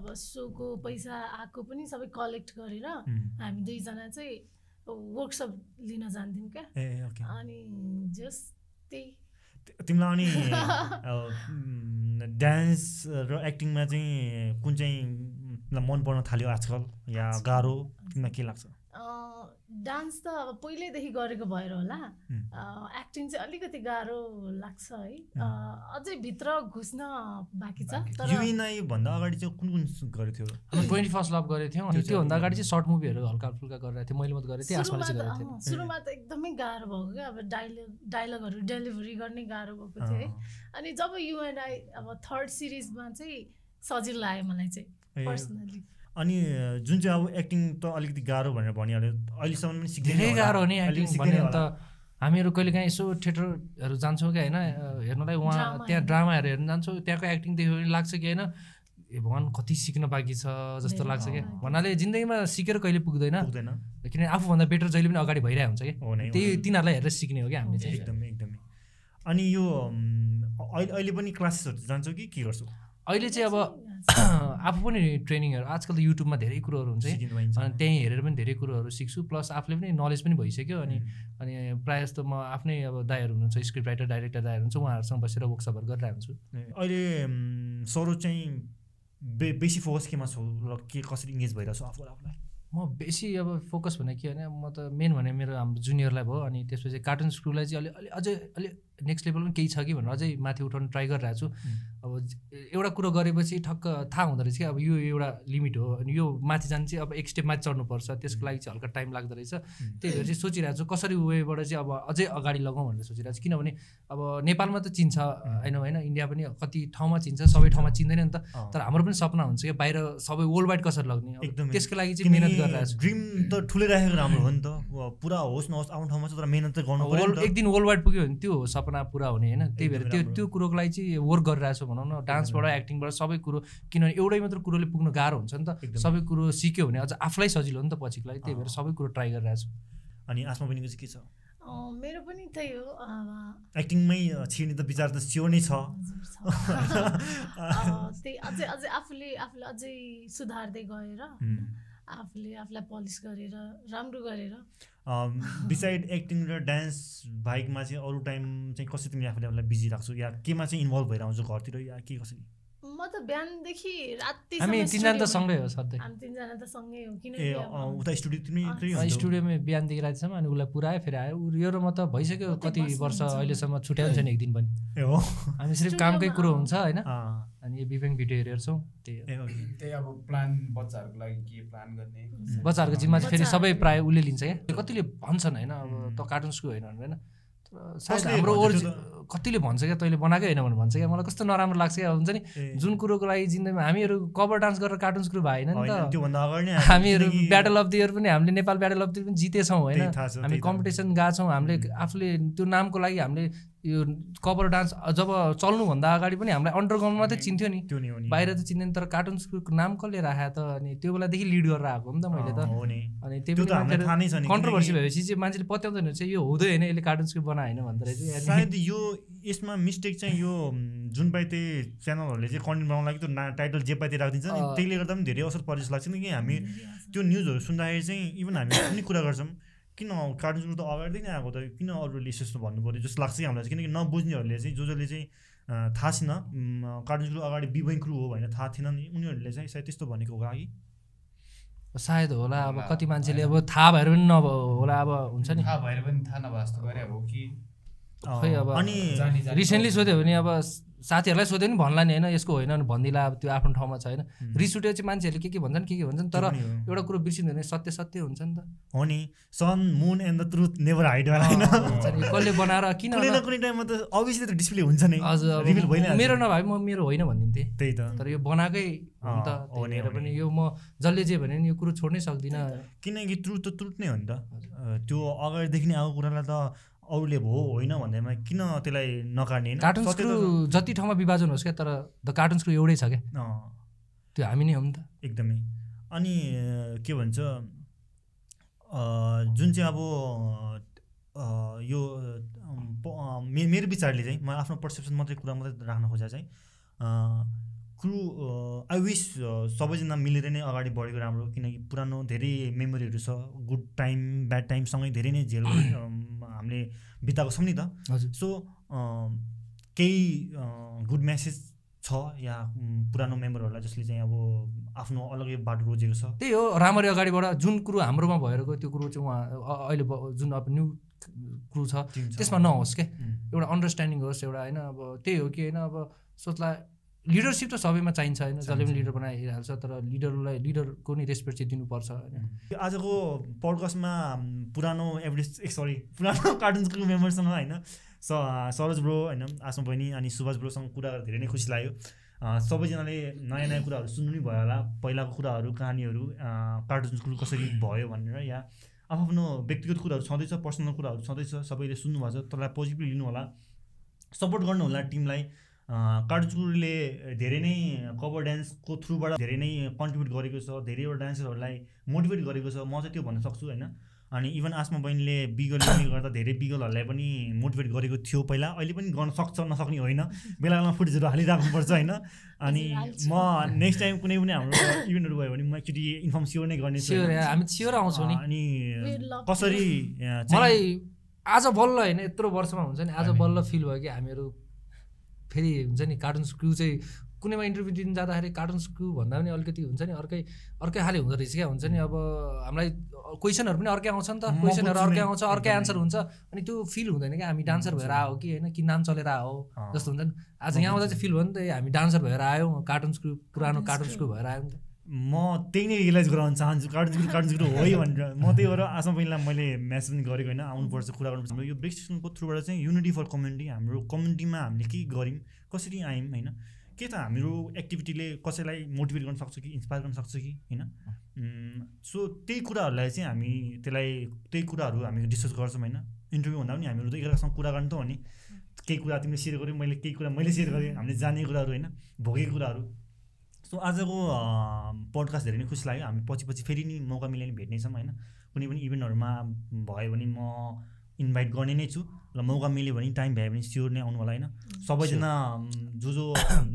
Speaker 3: अब सोको पैसा आएको पनि सबै कलेक्ट गरेर
Speaker 2: उम्,
Speaker 3: हामी दुईजना चाहिँ वर्कसप लिन जान्थ्यौँ क्या
Speaker 2: ए ओके
Speaker 3: अनि जस त्यही
Speaker 2: ति- तिमीलाई अनि अब, उम्, डान्स र एक्टिङमा uh, चाहिँ uh, कुन चाहिँ तिमीलाई मन पर्न थाल्यो आजकल या गाह्रो तिमीलाई के लाग्छ
Speaker 3: अँ, डान्स त अब पहिल्यैदेखि गरेको भएर होला
Speaker 2: उम्.
Speaker 3: अँ, एक्टिङ चाहिँ अलिकति गाह्रो लाग्छ है
Speaker 2: उम्.
Speaker 3: अँ, अझै भित्र घुस्न बाँकी छ
Speaker 4: बाँकी छ।
Speaker 3: तर
Speaker 2: युएनआई भन्दा अगाडि चाहिँ कुन कुन गरेको थियो
Speaker 1: हामी ट्वेन्टी फर्स्ट लभ गरेको थियौँ अनि
Speaker 2: त्यो चाहिँ
Speaker 1: त्योभन्दा अगाडि चाहिँ सर्ट मुभीहरू हल्का फुल्का गरेर थिएँ मैले मात्रै गरेको थिएँ आसपास
Speaker 3: सुरुमा
Speaker 1: चाहिँ गरेको थिएँ
Speaker 3: त अँ, सुरुमा त एकदमै गाह्रो भएको क्या अब डाइलग डाइलगहरू डेलिभरी गर्ने गाह्रो भएको थियो है
Speaker 2: अँ,
Speaker 3: अनि जब युएनआई अब थर्ड सिरिजमा चाहिँ सजिलो लाग्यो मलाई चाहिँ
Speaker 2: ए,
Speaker 3: पर्सनली
Speaker 2: अनि अ, जुन चाहिँ अब एक्टिङ त अलिकति गाह्रो भनेर भनिहाल्यो अहिलेसम्म पनि सिक्दैन
Speaker 1: धेरै
Speaker 2: होला।
Speaker 1: गाह्रो नि
Speaker 2: अलिकति
Speaker 1: एक्टिङ
Speaker 2: सिक्दैन
Speaker 1: भन्यो भने
Speaker 2: होला।
Speaker 1: त हामीहरू कहिले काहीँ यसो थिएटरहरू जान्छौँ क्या होइन अ, हेर्नलाई उहाँ
Speaker 3: ड्रामा
Speaker 1: त्यहाँ
Speaker 3: हेर्नु।
Speaker 1: ड्रामाहरू हेर्न जान्छौँ त्यहाँको एक्टिङ देख्यो भने लाग्छ कि होइन ए भगवान् कति सिक्न बाँकी छ जस्तो
Speaker 3: धेरै
Speaker 1: लाग्छ क्या
Speaker 3: बाँकी छ।
Speaker 1: भन्नाले जिन्दगीमा सिकेर कहिले पुग्दैन
Speaker 2: पुग्दैन
Speaker 1: किनभने आफूभन्दा बेटर जहिले पनि अगाडि भइरहेको हुन्छ कि
Speaker 2: हो नै हो
Speaker 1: त्यही
Speaker 2: नै।
Speaker 1: तिनीहरूलाई हेरेर सिक्ने हो क्या हामीले चाहिँ
Speaker 2: एकदमै एकदमै अनि यो अम्, अहिले अहिले पनि क्लासेसहरू जान्छौ कि के गर्छौ
Speaker 1: अहिले चाहिँ अब [clears throat] आफू पनि ट्रेनिङहरू आजकल त युट्युबमा धेरै कुरोहरू हुन्छ है।
Speaker 2: सिकिनु पाइन्छ
Speaker 1: अनि त्यहीँ हेरेर पनि धेरै कुरोहरू सिक्छु प्लस आफूले पनि नलेज पनि भइसक्यो अनि अनि प्रायः जस्तो म आफ्नै अब दाईहरू हुनुहुन्छ स्क्रिप्ट राइटर डाइरेक्टर दाईहरू हुन्छ उहाँहरूसँग बसेर वर्कसपहरू गरिरहेको हुन्छु
Speaker 2: ए, अहिले अम्, सरो चाहिँ बे बेसी फोकस केमा छौ र के कसरी इङ्गेज भइरहेको छौ आफूलाई आफूलाई
Speaker 1: म बेसी अब फोकस भने के भने म त मेन भने मेरो हाम्रो जुनियरलाई भयो अनि त्यसपछि कार्टुन स्क्रुलाई चाहिँ अलि अलि अझै अलि नेक्स्ट लेभलमा केही छ कि भनेर अझै माथि उठाउनु ट्राई गरिरहेको छु अब ज- एउटा कुरो गरेपछि ठक्क थाहा हुँदो रहेछ कि अब यो एउटा लिमिट हो अनि यो माथि जानु चाहिँ अब एक स्टेप माथि चढ्नुपर्छ त्यसको लागि चाहिँ हल्का टाइम लाग्दो रहेछ त्यही भएर चाहिँ सोचिरहेको छु कसरी वेबाट चाहिँ अब अझै अगाडि लगाउँ भनेर सोचिरहेको छु किनभने अब नेपालमा त चिन्छ होइन होइन इन्डिया पनि कति ठाउँमा चिन्छ सबै ठाउँमा चिन्दैन नि त
Speaker 2: अँ।
Speaker 1: तर हाम्रो पनि सपना हुन्छ कि बाहिर सबै वर्ल्ड वाइड कसरी लग्ने अब
Speaker 2: एकदमै।
Speaker 1: त्यसको लागि चाहिँ
Speaker 2: किनकि
Speaker 1: मिहिनेत गरिरहेको छु
Speaker 2: ड्रिम त ठुलै राखेको राम्रो हो नि त अब पुरा होस् नहोस् आफ्नो ठाउँमा चाहिँ तर मेहनत त गर्नु पर्यो
Speaker 1: वर्ल्ड
Speaker 2: नि
Speaker 1: एक
Speaker 2: त।
Speaker 1: दिन वर्ल्ड वाइड पुग्यो भने त्यो हो सपना पुरा हुने होइन त्यही भएर
Speaker 2: एकदमै
Speaker 1: त्यो
Speaker 2: राम्रो।
Speaker 1: त्यो कुरोको लागि चाहिँ वर्क गरिरहेको छु भनौँ न डान्सबाट एक्टिङबाट सबै कुरो किनभने एउटै मात्र कुरोले पुग्नु गाह्रो हुन्छ नि त
Speaker 2: एकदमै।
Speaker 1: सबै कुरो सिक्यो भने अझ आफूलाई सजिलो हो नि त पछिको लागि त्यही भएर
Speaker 2: अँ।
Speaker 1: सबै कुरो ट्राई गरिरहेको छु
Speaker 2: अनि आफ्नो बहिनीको चाहिँ के छ
Speaker 3: अँ, मेरो पनि त्यही हो अब
Speaker 2: एक्टिङमै अ, छिर्ने त विचार त स्योर नै छ
Speaker 3: हजुर छ।
Speaker 2: [laughs]
Speaker 3: अँ, त्यही अझै अझै आफूले आफूलाई अझै सुधार्दै गएर
Speaker 2: हुँ।
Speaker 3: आफूले आफूलाई पलिस गरेर राम्रो गरेर
Speaker 2: बिसाइड एक्टिङ र डान्स बाहेकमा चाहिँ अरू टाइम चाहिँ कसरी तिमीले आफूले आफूलाई बिजी राख्छौ या केमा चाहिँ इन्भल्भ भएर आउँछौ घरतिर या के कसरी
Speaker 3: म त बिहानदेखि राति
Speaker 1: हामी तिनजना त सँगै हो सधैँ
Speaker 3: हामी तिनजना त सँगै हो किनकि
Speaker 2: ए
Speaker 3: अब
Speaker 2: अ, उता स्टुडियो तिमी
Speaker 3: अँ,
Speaker 2: तिमी
Speaker 1: अँ,
Speaker 2: हुन्छौ?
Speaker 1: स्टुडियोमै बिहानदेखि रातिसम्म अनि उसलाई पुऱ्यायो फेरि आयो उ- यो र म त भइसक्यो
Speaker 3: उतै
Speaker 1: कति
Speaker 3: बस्नुहुन्छ।
Speaker 1: वर्ष अहिलेसम्म छुट्याएको छैन एक दिन पनि
Speaker 2: ए हो
Speaker 1: हामी सिर्फ
Speaker 3: स्टुडियोमा
Speaker 1: कामकै कुरो
Speaker 3: आऊ।
Speaker 1: हुन्छ होइन
Speaker 2: अँ,
Speaker 1: अनि यो बिपेङ भिडियो हेर्छौँ त्यही हो
Speaker 2: ए हो
Speaker 4: त्यही अब प्लान बच्चाहरूको लागि के प्लान गर्ने
Speaker 1: बच्चाहरूको जिम्मा चाहिँ फेरि
Speaker 3: बच्चाहरू-
Speaker 1: सबै प्रायः उसले लिन्छ क्या कतिले भन्छन् होइन अब
Speaker 2: उम्.
Speaker 1: त कार्टुन स्कू होइन भनेर होइन तर सायद
Speaker 2: कसले
Speaker 1: हाम्रो
Speaker 2: भन्छ
Speaker 1: ओरिजिन
Speaker 2: त्यो
Speaker 1: कतिले भन्छ क्या तैँले बनाएकै होइन भनेर भन्छ क्या मलाई कस्तो नराम्रो लाग्छ क्या हुन्छ नि
Speaker 2: ए,
Speaker 1: जुन कुरोको लागि जिन्दगीमा हामीहरू कभर डान्स गरेर कार्टुन स्कू भएन नि
Speaker 2: होइन,
Speaker 1: त
Speaker 2: त्योभन्दा अगाडि नै
Speaker 1: हामीहरू
Speaker 2: किनकि-
Speaker 1: ब्याटल अफ द इयर पनि हामीले Nepal battle of the year पनि जितेछौँ होइन
Speaker 2: त्यही थाहा छ,
Speaker 1: हामी
Speaker 2: त्यही थाहा छ।
Speaker 1: कम्पिटिसन गएको छौँ हामीले आफूले त्यो नामको लागि हामीले यो कभर डान्स जब चल्नुभन्दा अगाडि पनि हामीलाई अन्डरग्राउन्ड मात्रै चिन्थ्यो नि
Speaker 2: त्यो नि हो नि
Speaker 1: बाहिर त चिन्दैन तर कार्टुन स्कुलको नाम कसले राखेको त अनि त्यो बेलादेखि लिड गरेर आएको नि त मैले त
Speaker 2: अँ, हो नि
Speaker 1: अनि
Speaker 2: त्यो त हामीलाई थाहा
Speaker 1: त्यही
Speaker 2: नै छ नि
Speaker 1: कन्ट्रोभर्सी
Speaker 2: [laughs] किनकि
Speaker 1: भएपछि चाहिँ मान्छेले पत्याउँदैन रहेछ यो हुँदै होइन यसले कार्टुन स्क्रिप्ट बनायो होइन भन्दो रहेछ अनि
Speaker 2: सायद यो यसमा मिस्टेक चाहिँ यो म, जुन पाए त्यही च्यानलहरूले चाहिँ कन्टेन्ट बनाउनु लागि त्यो ना टाइटल जे पाए त्यही राखिदिन्छ नि
Speaker 1: अँ।
Speaker 2: त्यसले गर्दा पनि धेरै असर परे जस्तो लाग्छ किनकि हामी त्यो न्युजहरू सुन्दाखेरि चाहिँ इभन हामी पनि कुरा गर्छौँ किन कार्टुन स्कुल त अगाडिदेखि नै आएको त किन अरूले यस्तो यस्तो भन्नु पऱ्यो जस्तो लाग्छ कि हामीलाई चाहिँ किनकि नबुझ्नेहरूले चाहिँ जो जसले चाहिँ अँ, थाहा छैन म, कार्टुन क्रू अगाडि बिबोइङ क्रू हो भनेर थाहा थिएन नि उनीहरूले चाहिँ सायद त्यस्तो भनेको होला कि
Speaker 1: सायद होला अब
Speaker 4: होला,
Speaker 1: कति मान्छेले अब
Speaker 4: होइन।
Speaker 1: थाहा भएर पनि नभयो होला अब हुन्छ नि
Speaker 4: थाहा भएर पनि थाहा नभए जस्तो गरे हो कि
Speaker 2: अँ,
Speaker 1: खै अब-
Speaker 2: अनि
Speaker 4: जानी जानी
Speaker 1: रिसेन्टली सोध्यो भने अब साथीहरूलाई सोध्यो भने भन्ला नि होइन यसको होइन भने भनिदिला अब त्यो आफ्नो ठाउँमा छ होइन रिस उठेपछि मान्छेहरूले के के भन्छन् के के भन्छन्
Speaker 2: त्यो
Speaker 1: तर
Speaker 2: पनि हो।
Speaker 1: एउटा कुरो बिर्सिँदैन भने सत्य सत्य हुन्छ नि त
Speaker 2: हो नि sun moon and the truth never hide वाला होइन
Speaker 1: हुन्छ नि, कसले बनाएर किन
Speaker 2: कुनै न
Speaker 1: होला?
Speaker 2: कुनै टाइममा त अभियसली त डिस्प्ले हुन्छ नै
Speaker 1: अझ अब
Speaker 2: रिभिल भइहाल्छ
Speaker 1: मेरो नभए पनि म मेरो होइन भनिदिन्थेँ
Speaker 2: त्यही त
Speaker 1: तर यो बनाएकै हो नि त
Speaker 2: अँ, हो
Speaker 1: त्यही
Speaker 2: नि,
Speaker 1: भएर
Speaker 2: हो नि।
Speaker 1: पनि यो म जसले जे भने नि यो कुरो छोड्नै सक्दिनँ
Speaker 2: किनकि ट्रुथ त ट्रुथ नै हो नि त अ, त्यो अगाडिदेखि नै आएको कुरालाई त अरूले हो होइन भन्दैमा किन त्यसलाई नकार्ने होइन?
Speaker 1: कार्टुन
Speaker 2: सत्य
Speaker 1: स्क्रु
Speaker 2: त-
Speaker 1: जति ठाउँमा विभाजन होस् क्या तर द कार्टुन स्क्रु एउटै छ क्या
Speaker 2: अँ,
Speaker 1: त्यो हामी नै हो नि त
Speaker 2: एकदमै अनि अ, के भन्छ अ, जुन चाहिँ अब अ, यो अ, प- अ, मे- मेरो विचारले चाहिँ म आफ्नो पर्सेप्सन मात्रै कुरा मात्रै राख्न खोजेँ चाहिँ क्रु आई विस सबैजना मिलेर नै अगाडि बढेको राम्रो किनकि पुरानो धेरै मेमोरीहरू छ गुड टाइम ब्याड टाइमसँगै धेरै नै झेल अम, हामीले बिताएको छौँ नि त
Speaker 1: हजुर
Speaker 2: सो अम, केही गुड म्यासेज छ या म, पुरानो मेम्बरहरूलाई जसले चाहिँ अब आफ्नो अलग्गै बाटो रोजेको छ
Speaker 1: त्यही हो राम्ररी अगाडिबाट जुन कुरो हाम्रोमा भएर गयो त्यो कुरो चाहिँ उहाँ अ- अहिले ब- जुन अब न्यू कुरो छ
Speaker 2: त्यो हुन्छ।
Speaker 1: त्यसमा नहोस् क्या
Speaker 2: उम्,
Speaker 1: एउटा अन्डरस्ट्यान्डिङ होस् एउटा होइन अब त्यही हो कि होइन अब सोच्ला लिडरसिप त सबैमा चाहिन्छ होइन जसले पनि
Speaker 2: चाहिन्छ।
Speaker 1: लिडर बनाइहाल्छ तर लिडरलाई लिडरको नि रेस्पेक्ट चाहिँ दिनुपर्छ होइन
Speaker 2: यो आजको पडकास्टमा म, पुरानो एभरेज ए सरी पुरानो [laughs] कार्टुन्सको मेम्बरसँग होइन स सरोज ब्रो होइन आसमा बहिनी अनि सुभाष ब्रोसँग कुरा गरेर धेरै नै खुसी लाग्यो अ, सबैजनाले नयाँ नयाँ कुराहरू सुन्नु नै भयो होला पहिलाको कुराहरू कहानीहरू कार्टुन्सको कसरी भयो भनेर या आफ्नो व्यक्तिगत कुराहरू छँदैछ पर्सनल कुराहरू छँदैछ सबैले सुन्नुभएको छ त्यसलाई पोजिटिभली लिनु होला सपोर्ट गर्नुहोला टिमलाई कार्टुन्सले धेरै नै कभर डान्सको थ्रुबाट धेरै नै कन्ट्रिब्युट गरेको छ धेरैवटा डान्सरहरूलाई मोटिभेट गरेको छ म चाहिँ त्यो भन्न सक्छु होइन अनि इभन आसमा बहिनीले बिगलले गर्दा धेरै बिगलहरूलाई पनि मोटिभेट गरेको थियो पहिला अहिले पनि गर्न सक्छ नसक्ने होइन बेला बेलामा फुटेजहरू हालिराख्नुपर्छ होइन अनि म नेक्स्ट टाइम कुनै पनि हाम्रो इभेन्टहरू भयो भने म एकचोटि इन्फर्म स्योर नै गर्ने
Speaker 1: स्योर हामी स्योर आउँछौँ नि
Speaker 2: अनि
Speaker 3: We'd love to.
Speaker 2: कसरी अँ, चाहिँ-
Speaker 1: मलाई आज बल्ल होइन यत्रो वर्षमा हुन्छ नि आज
Speaker 2: हामी-
Speaker 1: बल्ल फिल भयो कि हामीहरू फेरि हुन्छ नि कार्टुन स्क्रु चाहिँ कुनैमा इन्टरभ्यू दिन जाँदाखेरि कार्टुन स्क्रु भन्दा पनि अलिकति हुन्छ नि अर्कै अर्कै खाले हुँदो रहेछ क्या हुन्छ नि अब हामीलाई क्वेसनहरू पनि अर्कै आउँछ नि त
Speaker 2: म
Speaker 1: क्वेसनहरू
Speaker 2: बुझ्छु
Speaker 1: अर्कै
Speaker 2: नि,
Speaker 1: आउँछ अर्कै
Speaker 2: एकदमै।
Speaker 1: आन्सर हुन्छ अनि त्यो फिल हुँदैन क्या हामी डान्सर भएर आयो कि होइन कि नाम चलेर आयो
Speaker 2: अँ,
Speaker 1: जस्तो हुन्छ नि आज
Speaker 2: म
Speaker 1: यहाँ आउँदा चाहिँ फिल भयो नि त ए, हामी डान्सर भएर आयौँ कार्टुन स्क्रु पुरानो
Speaker 3: कार्टुन
Speaker 1: कार्टुन
Speaker 3: स्क्रु।
Speaker 1: स्क्रु भएर आयौँ नि त
Speaker 2: म त्यही नै रियलाइज गराउन चाहन्छु कार्टुन कार्टुन जिरो हो है भनेर म त्यही भएर आजमा पहिला मैले म्यासेज पनि गरेको होइन आउनुपर्छ कुरा गर्नुपर्छ हाम्रो यो ब्रेक स्टेसनको थ्रुबाट चाहिँ युनिटी फर कम्युनिटी हाम्रो कम्युनिटीमा हामीले के गऱ्यौँ कसरी आयौँ होइन के त हाम्रो एक्टिभिटीले कसैलाई मोटिभेट गर्न सक्छ कि इन्सपायर गर्न सक्छ कि होइन उम्, सो त्यही कुराहरूलाई चाहिँ हामी त्यसलाई त्यही कुराहरू हामी डिस्कस गर्छौँ होइन इन्टरभ्यू हुँदा पनि हामीहरू त एकअर्कासँग कुरा गर्नु त हो नि केही कुरा तिमीले सेयर गर्यौ मैले केही कुरा मैले सेयर गरेँ हामीले जाने कुराहरू होइन भोगेको कुराहरू सो आजको पडकास्ट धेरै नै खुसी लाग्यो हामी पछि पछि फेरि नि मौका मिलेर नि भेट्नेछौँ होइन कुनै पनि इभेन्टहरूमा भयो भने म इन्भाइट गर्ने नै छु र मौका मिल्यो भने टाइम भ्यायो भने स्योर नै आउनु होला होइन सबैजना म, जो [coughs] जो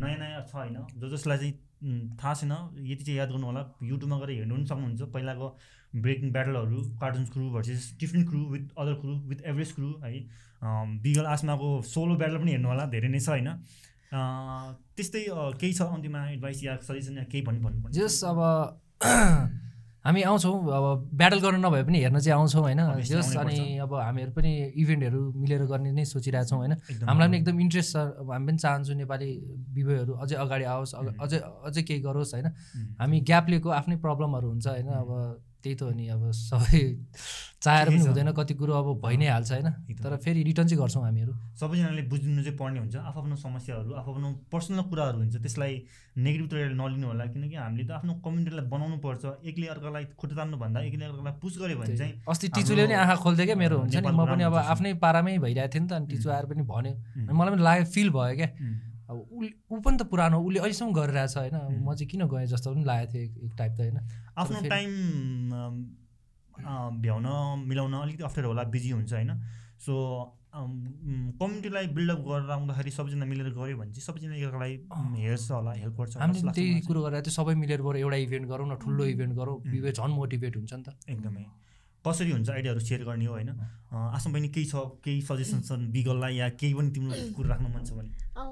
Speaker 2: नयाँ नयाँ छ होइन जो जसलाई चाहिँ म, थाहा छैन यति चाहिँ याद गर्नु होला युट्युबमा गएर हेर्नु पनि सक्नुहुन्छ पहिलाको ब्रेकिङ ब्याटलहरू cartoons crew versus different crew with other crew with average crew है अम, बिगल आसमाको सोलो ब्याटल पनि हेर्नु होला धेरै नै छ होइन अ, त्यस्तै अ, केही छ अन्तिममा एडभाइस या सजेसन या केही भन्नु भन्नु
Speaker 1: जस अब [clears throat] हामी आउँछौँ अब ब्याटल गर्न नभए पनि हेर्न चाहिँ आउँछौँ होइन
Speaker 2: Obviously
Speaker 1: जस
Speaker 2: आउनै
Speaker 1: अनि अब हामीहरू पनि इभेन्टहरू मिलेर गर्ने नै सोचिरहेछौँ होइन
Speaker 2: एकदम
Speaker 1: हामीलाई पनि एकदम इन्ट्रेस्ट छ अब हामी पनि चाहन्छौँ नेपाली विवयहरू अझै अगाडि आओस् अग-
Speaker 2: Mm.
Speaker 1: अझै अझै केही गरोस् होइन
Speaker 2: उम्,
Speaker 1: हामी ग्याप लिएको आफ्नै प्रब्लमहरू हुन्छ होइन
Speaker 2: Mm.
Speaker 1: अब त्यही त हो नि अब सबै [laughs] चाहेर
Speaker 2: ठिकै
Speaker 1: पनि
Speaker 2: छ।
Speaker 1: हुँदैन कति कुरो अब भइ नै हाल्छ होइन
Speaker 2: एकदम।
Speaker 1: तर फेरि रिटर्न चाहिँ गर्छौँ हामीहरू
Speaker 2: सबैजनाले बुझ्नु चाहिँ पर्ने हुन्छ आफ्नो समस्याहरू आफ्नो पर्सनल कुराहरू हुन्छ त्यसलाई नेगेटिभ तरिकाले नलिनु होला किनकि हामीले त आफ्नो कम्युनिटीलाई बनाउनु पर्छ एकले अर्कालाई खुट्टा तान्नुभन्दा एकले अर्कालाई पुस गऱ्यो भने चाहिँ
Speaker 1: अस्ति टिचुले पनि
Speaker 2: हाम्रो,
Speaker 1: आँखा खोल्थ्यो क्या मेरो
Speaker 2: अ,
Speaker 1: हुन्छ नि
Speaker 2: नेपालको
Speaker 1: म पनि अब
Speaker 2: राम्रो छ।
Speaker 1: आफ्नै पारामै भइरहेको थिएँ नि त अनि टिचु आएर पनि भन्यो अनि मलाई पनि लाग्यो फिल भयो क्या
Speaker 2: उम्,
Speaker 1: अब उसले ऊ पनि त पुरानो उसले अहिलेसम्म गरिरहेछ होइन अब
Speaker 2: हुँ।
Speaker 1: म चाहिँ किन गएँ जस्तो पनि लागेको थियो एक- एक टाइप त होइन
Speaker 2: आफ्नो
Speaker 1: फेरि-
Speaker 2: टाइम अम, अ, भ्याउन मिलाउन अलिकति अप्ठ्यारो होला बिजी हुन्छ होइन सो कम्युनिटीलाई बिल्डअप गरेर आउँदाखेरि सबैजना मिलेर गऱ्यो भने चाहिँ सबैजना एकअर्कालाई अम, हेर्छ होला हेल्प गर्छ होला जस्तो
Speaker 1: हामीले
Speaker 2: लाग्छ
Speaker 1: त्यही
Speaker 2: मलाई चाहिँ।
Speaker 1: कुरो गरेर चाहिँ सबै मिलेर बरु एउटा इभेन्ट गरौँ न ठुलो इभेन्ट गरौँ
Speaker 2: हुँ।
Speaker 1: विवे झन् मोटिभेट हुन्छ नि त
Speaker 2: एकदमै कसरी हुन्छ आइडियाहरू सेयर गर्ने हो होइन अँ, आसाम बहिनी केही छ केही सजेसन छन् बिगललाई या केही पनि तिम्रो कुरा राख्न मन छ भने
Speaker 3: अँ,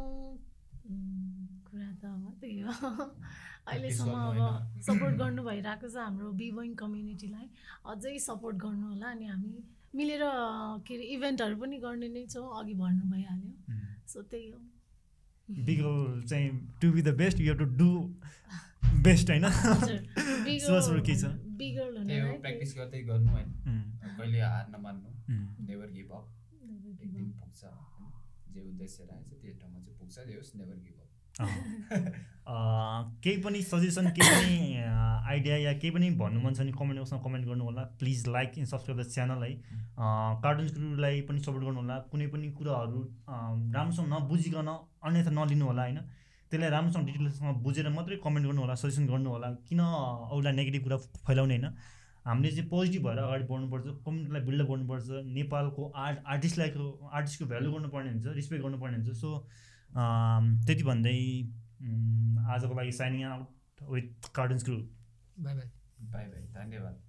Speaker 3: उम्, कुरा त अब त्यही हो [laughs]
Speaker 4: त्यसो
Speaker 3: अहिलेसम्म अब [laughs] सपोर्ट गर्नु भइरहेको छ हाम्रो बिबोइङ कम्युनिटीलाई अझै सपोर्ट गर्नु होला अनि हामी मिलेर अ, के अरे इभेन्टहरू पनि गर्ने नै छौँ अघि भन्नु भइहाल्यो सो त्यही हो
Speaker 2: बिगल चाहिँ to be the best you have to do best
Speaker 1: [laughs]
Speaker 2: होइन
Speaker 3: हजुर, big
Speaker 2: सोच
Speaker 3: goal
Speaker 2: बरु के छ?
Speaker 3: भन्नु- big goal
Speaker 4: त्यही हो
Speaker 3: हुनलाई
Speaker 4: प्र्याक्टिस गर्दै गर्नु होइन
Speaker 2: उम्,
Speaker 4: कहिले हार नमान्नु
Speaker 2: उम्,
Speaker 4: नेभर गिभ अप
Speaker 3: त्यही-
Speaker 4: एक दिन पुग्छ होइन जे उद्देश्य राखेको छ त्यो ठाउँमा चाहिँ पुग्छ जे होस् नेभर गिभ अप
Speaker 2: अँ। अँ, केही पनि सजेसन केही पनि आइडिया या केही पनि भन्नु मन छ भने कमेन्ट बक्समा कमेन्ट गर्नु होला please like and subscribe the channel है कार्टुन क्रुलाई पनि सपोर्ट गर्नु होला कुनै पनि कुराहरू अँ, राम्रोसँग नबुझिकन अन्यथा नलिनु होला होइन त्यसलाई राम्रोसँग डिटेल्ससँग बुझेर मात्रै कमेन्ट गर्नु होला सजेसन गर्नु होला किन अरूलाई नेगेटिभ कुरा फैलाउने होइन हामीले चाहिँ पोजिटिभ भएर अगाडि बढ्नुपर्छ कम्युनिटीलाई बिल्डअप गर्नुपर्छ नेपालको आर्ट आर्टिस्टलाई आर्टिस्टको भ्यालु गर्नुपर्ने हुन्छ रेस्पेक्ट गर्नुपर्ने हुन्छ सो त्यति भन्दै Mm, उम्, आजको लागि signing out with cartoons group
Speaker 1: bye bye
Speaker 4: bye bye धन्यवाद